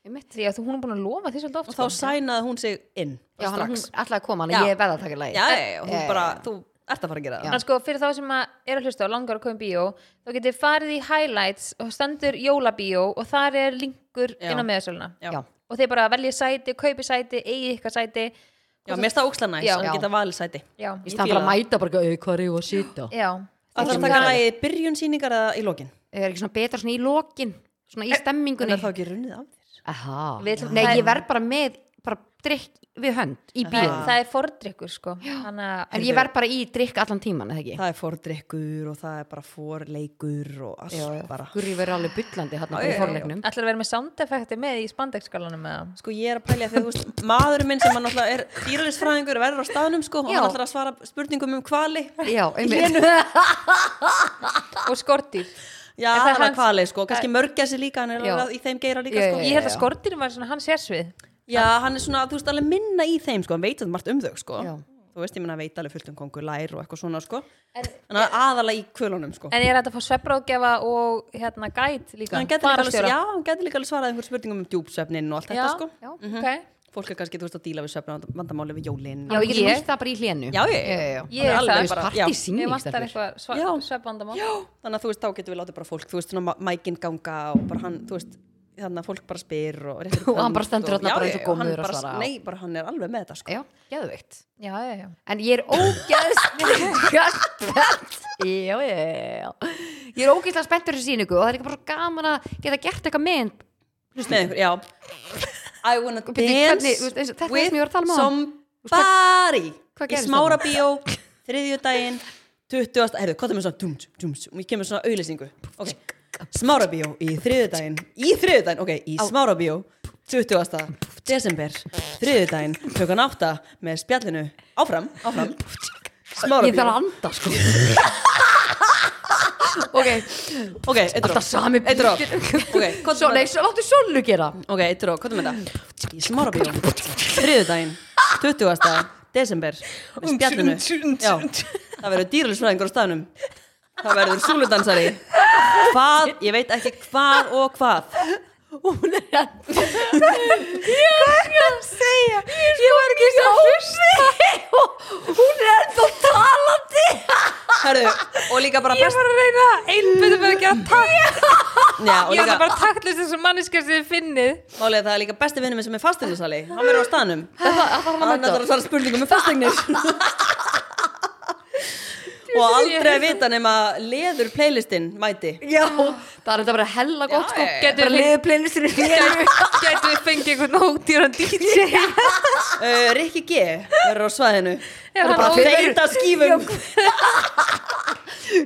[SPEAKER 3] ég mitt
[SPEAKER 2] því að þú- hún er búin að lofa því svolítið oft sko.
[SPEAKER 1] og þá sænaði hún sig inn
[SPEAKER 3] Sko. Já,
[SPEAKER 1] bara
[SPEAKER 3] hann hún Eh,
[SPEAKER 1] strax
[SPEAKER 3] alltaf að koma, hann
[SPEAKER 1] Já.
[SPEAKER 3] ég verða að taka lagi
[SPEAKER 1] já, já, já, hún
[SPEAKER 3] Já,
[SPEAKER 1] bara,
[SPEAKER 3] já.
[SPEAKER 1] þú ert að fara að gera það
[SPEAKER 2] En sko, fyrir þá sem að er að hlusta og langar að koma í bíó, þá getið farið í highlights og standur jólabíó og þar er linkur
[SPEAKER 1] Já.
[SPEAKER 2] inn á meðasöluna.
[SPEAKER 1] já, já,
[SPEAKER 3] Já.
[SPEAKER 2] Og þeir bara velja sæti, kaupi sæti, eigi ykkar sæti.
[SPEAKER 1] já mér stað ókslega næst
[SPEAKER 2] Já.
[SPEAKER 1] að
[SPEAKER 3] Já.
[SPEAKER 1] geta valið sæti
[SPEAKER 2] Já.
[SPEAKER 3] Í
[SPEAKER 1] Ég
[SPEAKER 3] staðan
[SPEAKER 1] fíla
[SPEAKER 3] bara að mæta bara, "Au, hvað er ég að sita?
[SPEAKER 2] Já.
[SPEAKER 1] að það taka það í byrjun síningar eða í lokin
[SPEAKER 3] Eh, Er ekki svona betra svona í lokin, svona í
[SPEAKER 1] en
[SPEAKER 3] stemmingunni
[SPEAKER 1] er þá ekki runnið af þér
[SPEAKER 3] Aha,
[SPEAKER 2] Við ætlum-
[SPEAKER 3] nei,
[SPEAKER 2] það-
[SPEAKER 3] ég verð bara með, bara drikk við hönd í
[SPEAKER 2] Það,
[SPEAKER 3] bíó
[SPEAKER 2] það er fordrykkur, sko. Þannig að...
[SPEAKER 3] En ég verð bara í drikk allan tíman, eða ekki?
[SPEAKER 1] það er fordrykkur og það er bara forleikur og allt
[SPEAKER 3] Já, já,
[SPEAKER 1] bara
[SPEAKER 3] Guri verður alveg byllandi hann
[SPEAKER 1] Já,
[SPEAKER 3] í
[SPEAKER 1] já, já.
[SPEAKER 3] forleiknum
[SPEAKER 2] Ætlar að vera með soundeffekti með í spandekskalanum eða?
[SPEAKER 1] Sko ég er að pælja því að þú veist, maðurinn minn sem hann alltaf er dýralisfræðingur verður á staðnum sko og
[SPEAKER 3] Já.
[SPEAKER 1] hann alltaf að svara spurningum um hvali
[SPEAKER 3] Já, einmitt
[SPEAKER 2] Og skortýr.
[SPEAKER 1] Já,
[SPEAKER 2] það
[SPEAKER 1] hann er
[SPEAKER 2] hans-
[SPEAKER 1] hvali sko, kannski mörgja sig líka hann er
[SPEAKER 3] Já.
[SPEAKER 1] alveg í þeim geira líka
[SPEAKER 3] Já,
[SPEAKER 1] sko
[SPEAKER 2] Ég held að skortýrum var svona hans sérsvið.
[SPEAKER 1] Já, hann er svona, þú veist, alveg minna í þeim sko hann veit að margt um þau sko
[SPEAKER 3] Já.
[SPEAKER 1] Þú veist, ég minna veit alveg fullt um kongur, lær og eitthvað svona sko
[SPEAKER 2] En-
[SPEAKER 1] Þannig að aðalega í kvölunum sko
[SPEAKER 2] En ég er hægt að fá svefbráðgefa og hérna gæt líka.
[SPEAKER 1] Hann gæti líka, alveg-
[SPEAKER 2] Fararstjóra.
[SPEAKER 1] já, hann gæti líka alveg svarað einhver spurningum um djúpsvefnin og allt
[SPEAKER 2] Já,
[SPEAKER 1] þetta sko
[SPEAKER 2] já,
[SPEAKER 1] Mhm.
[SPEAKER 2] ok.
[SPEAKER 1] Fólk er kannski, þú veist, að díla við svefnavandamáli við jólin
[SPEAKER 3] Já, ég
[SPEAKER 2] Ég-
[SPEAKER 3] getur það bara í hlénu
[SPEAKER 1] Já, já, já.
[SPEAKER 2] Ég er
[SPEAKER 1] alveg
[SPEAKER 2] það.
[SPEAKER 1] bara- já.
[SPEAKER 3] partysýning,
[SPEAKER 2] Mér vantar
[SPEAKER 3] stelpur.
[SPEAKER 1] Já.
[SPEAKER 2] eitthvað svefbandamál.
[SPEAKER 1] þannig að þú veist, þá getum við látið bara fólk þú veist, svona ma- mækinn ganga og bara hann, þú veist þannig að fólk bara spyr og, réttir upp
[SPEAKER 3] Og hann
[SPEAKER 1] hönd
[SPEAKER 3] bara stendur
[SPEAKER 1] og-
[SPEAKER 3] þarna
[SPEAKER 1] Já,
[SPEAKER 3] bara
[SPEAKER 1] já,
[SPEAKER 3] eins og
[SPEAKER 1] já, hann
[SPEAKER 3] gómur að
[SPEAKER 1] bara-
[SPEAKER 3] svara á.
[SPEAKER 1] nei, bara hann er alveg með þetta sko
[SPEAKER 3] Já, geðveikt
[SPEAKER 2] Já, já, já.
[SPEAKER 3] En ég er ógeðslega spennt Já, já, já Ég er ógeðslega spennt fyrir þessu sýningu og það er líka bara svo gaman að geta gert eitthvað með
[SPEAKER 1] með einhver, já I wanna
[SPEAKER 3] Bíddu, hvernig-
[SPEAKER 1] dance
[SPEAKER 3] þú veist, eins og- þetta er það sem ég var að tala um
[SPEAKER 1] with
[SPEAKER 3] áðan.
[SPEAKER 1] somebody
[SPEAKER 3] hvað
[SPEAKER 1] í
[SPEAKER 3] gerðist
[SPEAKER 1] smára bíó, þriðju daginn 20. heyrðu, hvað er með svona dúms, dúms og ég kemur svona auðlýsingu ok Smára bíó í þriðudaginn Í þriðudaginn, ok, í smára bíó 20. desember Þriðudaginn, klukkan 8 Með spjallinu, áfram, áfram Smára
[SPEAKER 3] Ég þarf
[SPEAKER 1] bíó
[SPEAKER 3] að anda, sko Ok,
[SPEAKER 1] Ok, eitt
[SPEAKER 3] alltaf
[SPEAKER 1] rók
[SPEAKER 3] sami
[SPEAKER 1] Eitt rók Ok, hvað
[SPEAKER 3] Svo,
[SPEAKER 1] er
[SPEAKER 3] nei, svo láttu Sólu gera
[SPEAKER 1] Ok, eitt rók, hvað er með þetta? Í smára bíó Þriðudaginn, 20. desember Með spjallinu Já, það verður dýralisfræðingur á staðnum Það verður súludansari Hvað, ég veit ekki hvað og hvað
[SPEAKER 3] Hún er að Ég er að segja Ég var ekki að hlusta Hún er ennþá talandi
[SPEAKER 1] Herðu, og líka bara best
[SPEAKER 2] var að reyna einbyrðum að gera takt
[SPEAKER 1] Já, og
[SPEAKER 2] ég var
[SPEAKER 1] líka,
[SPEAKER 2] það bara taktlust þessum manneskar sem þið finnið
[SPEAKER 1] Málið er að það er líka besti vinnum sem er fasteignarsali Hann verður á staðnum Hann ætlar að svara spurningum með fasteignir Og aldrei að vita nema leður playlistin mæti
[SPEAKER 3] Já Það er þetta bara hella gott sko
[SPEAKER 1] Já, já, já.
[SPEAKER 3] Getur
[SPEAKER 2] Bara
[SPEAKER 3] við liðið playlistinu
[SPEAKER 2] gætu við fengið einhvern ódýran DJ
[SPEAKER 1] uh, Rikki G verður á svæðinu
[SPEAKER 2] Já,
[SPEAKER 1] Það er
[SPEAKER 2] hann
[SPEAKER 1] bara
[SPEAKER 3] verður-
[SPEAKER 1] feita skífum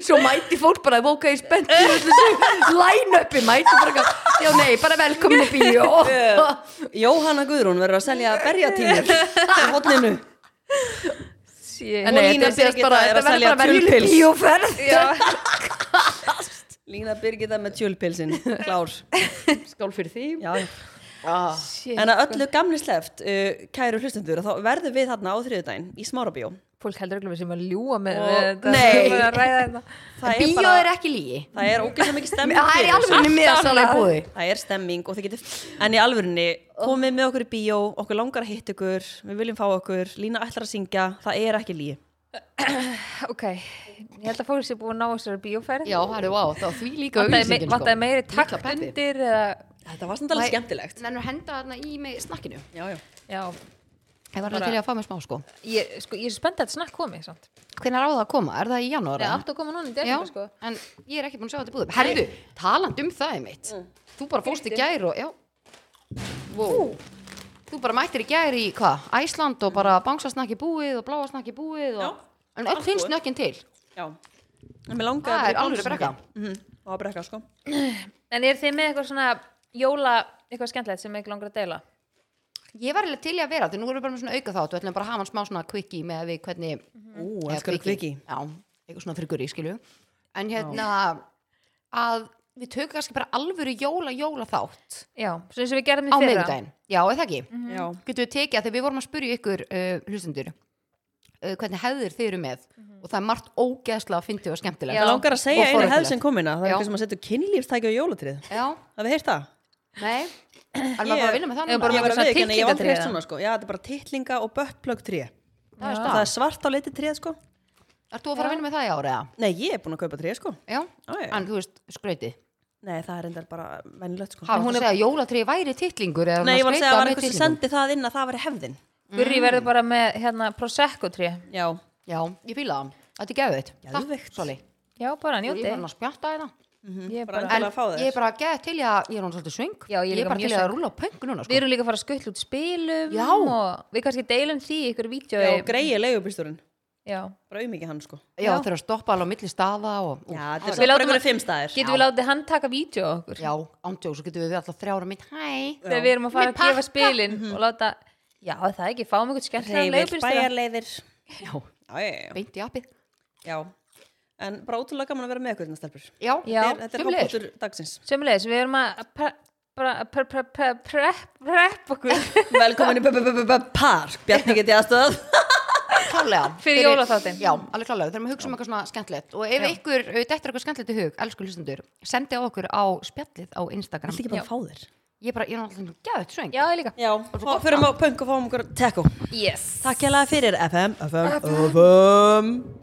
[SPEAKER 3] Svo mæti fólk bara Ok, spennt fyrir öllu þessu Line-upi mæti bara eitthvað, Já, nei, bara velkomin í bíó
[SPEAKER 1] Jóhanna Guðrún verður að selja berjatínur á hodninu
[SPEAKER 2] Shit.
[SPEAKER 3] En nei,
[SPEAKER 1] Lína
[SPEAKER 3] þetta er sérst
[SPEAKER 1] Birgitta
[SPEAKER 3] bara
[SPEAKER 1] er að
[SPEAKER 3] Þetta verður
[SPEAKER 1] selja
[SPEAKER 3] bara velkomin
[SPEAKER 1] tjúlpils.
[SPEAKER 3] í bíóferð
[SPEAKER 2] Já.
[SPEAKER 1] Lína Birgitta með tjölpilsin Klár
[SPEAKER 3] Skál fyrir því
[SPEAKER 1] Já, já eh,
[SPEAKER 2] Shit.
[SPEAKER 3] Ah.
[SPEAKER 1] En að öllu gamli sleft, uh, kæru hlustendur, að þá verðum við þarna á þriðudaginn í Smárabíó
[SPEAKER 2] fólk heldur öllum sem að ljúa með
[SPEAKER 1] Og-
[SPEAKER 2] með þetta
[SPEAKER 3] Nei.
[SPEAKER 2] sem er að ræða hérna. þetta.
[SPEAKER 1] það er,
[SPEAKER 3] Bíó
[SPEAKER 1] bara,
[SPEAKER 3] er ekki lígi
[SPEAKER 1] það er ógeðslega mikið stemming
[SPEAKER 3] Það er í
[SPEAKER 1] fyrir þessu.
[SPEAKER 3] alveg miðasala
[SPEAKER 2] annað.
[SPEAKER 3] búði
[SPEAKER 1] það er stemming og þið getur en í alvörunni, komið með okkur í bíó okkur langar að hitta ykkur, við viljum fá okkur Lína ætlar að syngja, það er ekki líi
[SPEAKER 2] ok, ég held að fólk sé búin að ná þessari bíóferð
[SPEAKER 3] Já, það er vá, þá því líka
[SPEAKER 2] vantaði mei-
[SPEAKER 3] auglýsingin sko
[SPEAKER 2] vantaði meiri
[SPEAKER 3] Mikla
[SPEAKER 2] takt
[SPEAKER 3] peppi.
[SPEAKER 2] undir eða,
[SPEAKER 1] þetta var samt alveg
[SPEAKER 3] Nei.
[SPEAKER 1] skemmtilegt
[SPEAKER 3] Nennir henda þarna í mig snakkinu
[SPEAKER 1] já, já.
[SPEAKER 2] já,
[SPEAKER 3] Ég var alveg til í að fá mér smá sko
[SPEAKER 2] ég, sko, ég er spennt að þetta snakk komið samt.
[SPEAKER 3] Hvenær á það að koma? Er það í janúar?
[SPEAKER 2] það
[SPEAKER 3] eða?
[SPEAKER 2] átt að koma núna í
[SPEAKER 3] Já,
[SPEAKER 2] desember sko.
[SPEAKER 3] en ég er ekki búin að sjá þetta búðum Herðu, taland um það er mitt Þú bara fórst í gær og, já wow. Þú bara mættir í gær í, hvað? Æsland og bara bangsasnakki búið og bláasnakki búið og...
[SPEAKER 1] Já,
[SPEAKER 3] En öll
[SPEAKER 1] allt
[SPEAKER 3] þinn
[SPEAKER 1] búið.
[SPEAKER 3] snökkin til
[SPEAKER 1] já. en mér langar
[SPEAKER 3] Það er alveg brekka
[SPEAKER 1] það var brekka sko
[SPEAKER 2] en er þið með eitthvað svona jóla, eitthvað skemmtilegt sem eitthvað langar að deila
[SPEAKER 3] Ég var eiginlega til í að vera, því nú erum við bara með svona auka þátt Við ætlum bara að hafa hann smá svona quickie með að við hvernig
[SPEAKER 1] ú,
[SPEAKER 3] Eða
[SPEAKER 1] elskar að kviki
[SPEAKER 3] Já, eitthvað svona frigur í skilju En hérna að við tökum kannski bara alvöru jóla jóla þátt
[SPEAKER 2] já, svona eins og við gerðum í
[SPEAKER 3] á
[SPEAKER 2] fyrra
[SPEAKER 3] miðvikudaginn Já, eða ekki?
[SPEAKER 1] já,
[SPEAKER 3] Getum við tekið að þegar við vorum að spyrja ykkur uh, hlustendur uh, hvernig hefðir þeir eru með
[SPEAKER 1] Mhm.
[SPEAKER 3] og það er margt ógeðslega að fyndi og skemmtilega
[SPEAKER 2] Já.
[SPEAKER 1] mér langar að segja
[SPEAKER 3] Og
[SPEAKER 1] einu
[SPEAKER 3] forvitnilegt.
[SPEAKER 1] hefð sem komina það
[SPEAKER 3] Já.
[SPEAKER 1] er eitthvað sem að setja kynlífstæki á jólatrið
[SPEAKER 3] Já,
[SPEAKER 1] hafið þið heyrt það?
[SPEAKER 3] nei Er maður bara að vinna með það
[SPEAKER 2] Ég-
[SPEAKER 3] núna?
[SPEAKER 2] Bara
[SPEAKER 1] ég var
[SPEAKER 2] eitthvað
[SPEAKER 1] að
[SPEAKER 2] svona
[SPEAKER 1] viðurkenna, ég hef aldrei
[SPEAKER 2] tittlingatré
[SPEAKER 1] heyrt
[SPEAKER 2] eða?
[SPEAKER 1] svona sko já, þetta er bara tittlinga og buttplug tré
[SPEAKER 3] Það er
[SPEAKER 1] það
[SPEAKER 3] stað.
[SPEAKER 1] er svart á leiti tré sko
[SPEAKER 3] Ert þú að fara að vinna með það í ára? eða?
[SPEAKER 1] nei, ég er búin að kaupa tré sko
[SPEAKER 3] Já,
[SPEAKER 1] Já, já.
[SPEAKER 3] en þú veist, skrautið
[SPEAKER 1] nei, það er endar bara vennilegt sko
[SPEAKER 3] Há, hún er að segja að jólatrið væri titlingur eða
[SPEAKER 1] Nei, ég var að segja að það var
[SPEAKER 3] skrautað
[SPEAKER 1] eitthvað sem
[SPEAKER 3] með titlingum.
[SPEAKER 1] sendi það inn að það var hefðin
[SPEAKER 2] Gurri verður bara með hérna Prosecco 3
[SPEAKER 1] Já,
[SPEAKER 3] Já, ég fýla það, þetta er gefið
[SPEAKER 1] Geðveikt.
[SPEAKER 3] Soli,
[SPEAKER 2] Já, bara
[SPEAKER 3] ég
[SPEAKER 2] njóti
[SPEAKER 3] er bara að spjatta það
[SPEAKER 2] Ég er
[SPEAKER 1] bara
[SPEAKER 2] bara,
[SPEAKER 1] endilega
[SPEAKER 3] En
[SPEAKER 1] að fá
[SPEAKER 3] ég er
[SPEAKER 1] þér
[SPEAKER 3] bara að geða til í að ég er hún svolítið svöng
[SPEAKER 2] Já, ég er líka
[SPEAKER 3] bara
[SPEAKER 2] mjög
[SPEAKER 3] til í að
[SPEAKER 2] svöng.
[SPEAKER 3] rúla á pöngu núna
[SPEAKER 2] Við
[SPEAKER 3] sko.
[SPEAKER 2] erum líka að fara að skuttla út spilum
[SPEAKER 3] Já.
[SPEAKER 2] og við kannski deilum því í ykkur vídeo
[SPEAKER 1] Já, greiði leigubýsturinn
[SPEAKER 2] Já.
[SPEAKER 1] Bara auðmikið hann sko
[SPEAKER 3] Já, þau eru að stoppa alveg á milli staða og,
[SPEAKER 1] Já,
[SPEAKER 3] og,
[SPEAKER 1] þetta er
[SPEAKER 2] Við
[SPEAKER 1] samt bara
[SPEAKER 2] látum
[SPEAKER 1] verið
[SPEAKER 2] að-
[SPEAKER 1] fimm staðir
[SPEAKER 2] Getum við látið hann taka vídeo á okkur
[SPEAKER 3] Já, ándjók, svo getum við alltaf þrjára mitt Hæ,
[SPEAKER 2] þegar við erum að fara
[SPEAKER 3] Með
[SPEAKER 2] að gefa
[SPEAKER 3] pakka.
[SPEAKER 2] spilin og láta, já það er ekki, fáum ykkur skemmtilega
[SPEAKER 1] Leifir,
[SPEAKER 2] leifbyrstara
[SPEAKER 1] bæjarleiðir
[SPEAKER 3] Já,
[SPEAKER 1] Já, já, já,
[SPEAKER 3] beint í appið
[SPEAKER 1] já En bara ótrúlega gaman að vera með ykkur hérna stelpur
[SPEAKER 3] Já,
[SPEAKER 2] Já,
[SPEAKER 1] Þetta er- Þetta er
[SPEAKER 3] sömuleiðis.
[SPEAKER 1] hópputur dagsins
[SPEAKER 2] Sjömmulegis, við erum að pre- bara að pre- pre- pre- pre- prep okkur
[SPEAKER 1] Velkomin í B-B-B-B-Park Bjarni geti aðstöð
[SPEAKER 3] klálega
[SPEAKER 2] Fyrir jólaþáttinn.
[SPEAKER 3] Já, alveg klálega, þurfum að hugsa um eitthvað svona skemmtilegt Og ef ykkur, uh, dettur eitthvað skemmtilegt í hug, elsku hlustendur Sendi á okkur á spjallið á
[SPEAKER 1] Þetta
[SPEAKER 3] Instagram
[SPEAKER 1] ekki bara að fá þér
[SPEAKER 3] Ég bara, ég er alltaf geðið svöng
[SPEAKER 2] Já, ég líka
[SPEAKER 1] Já, fá- förum á punk og fáum okkur teko
[SPEAKER 2] Yes
[SPEAKER 1] Takk hérlega fyrir FM FM FM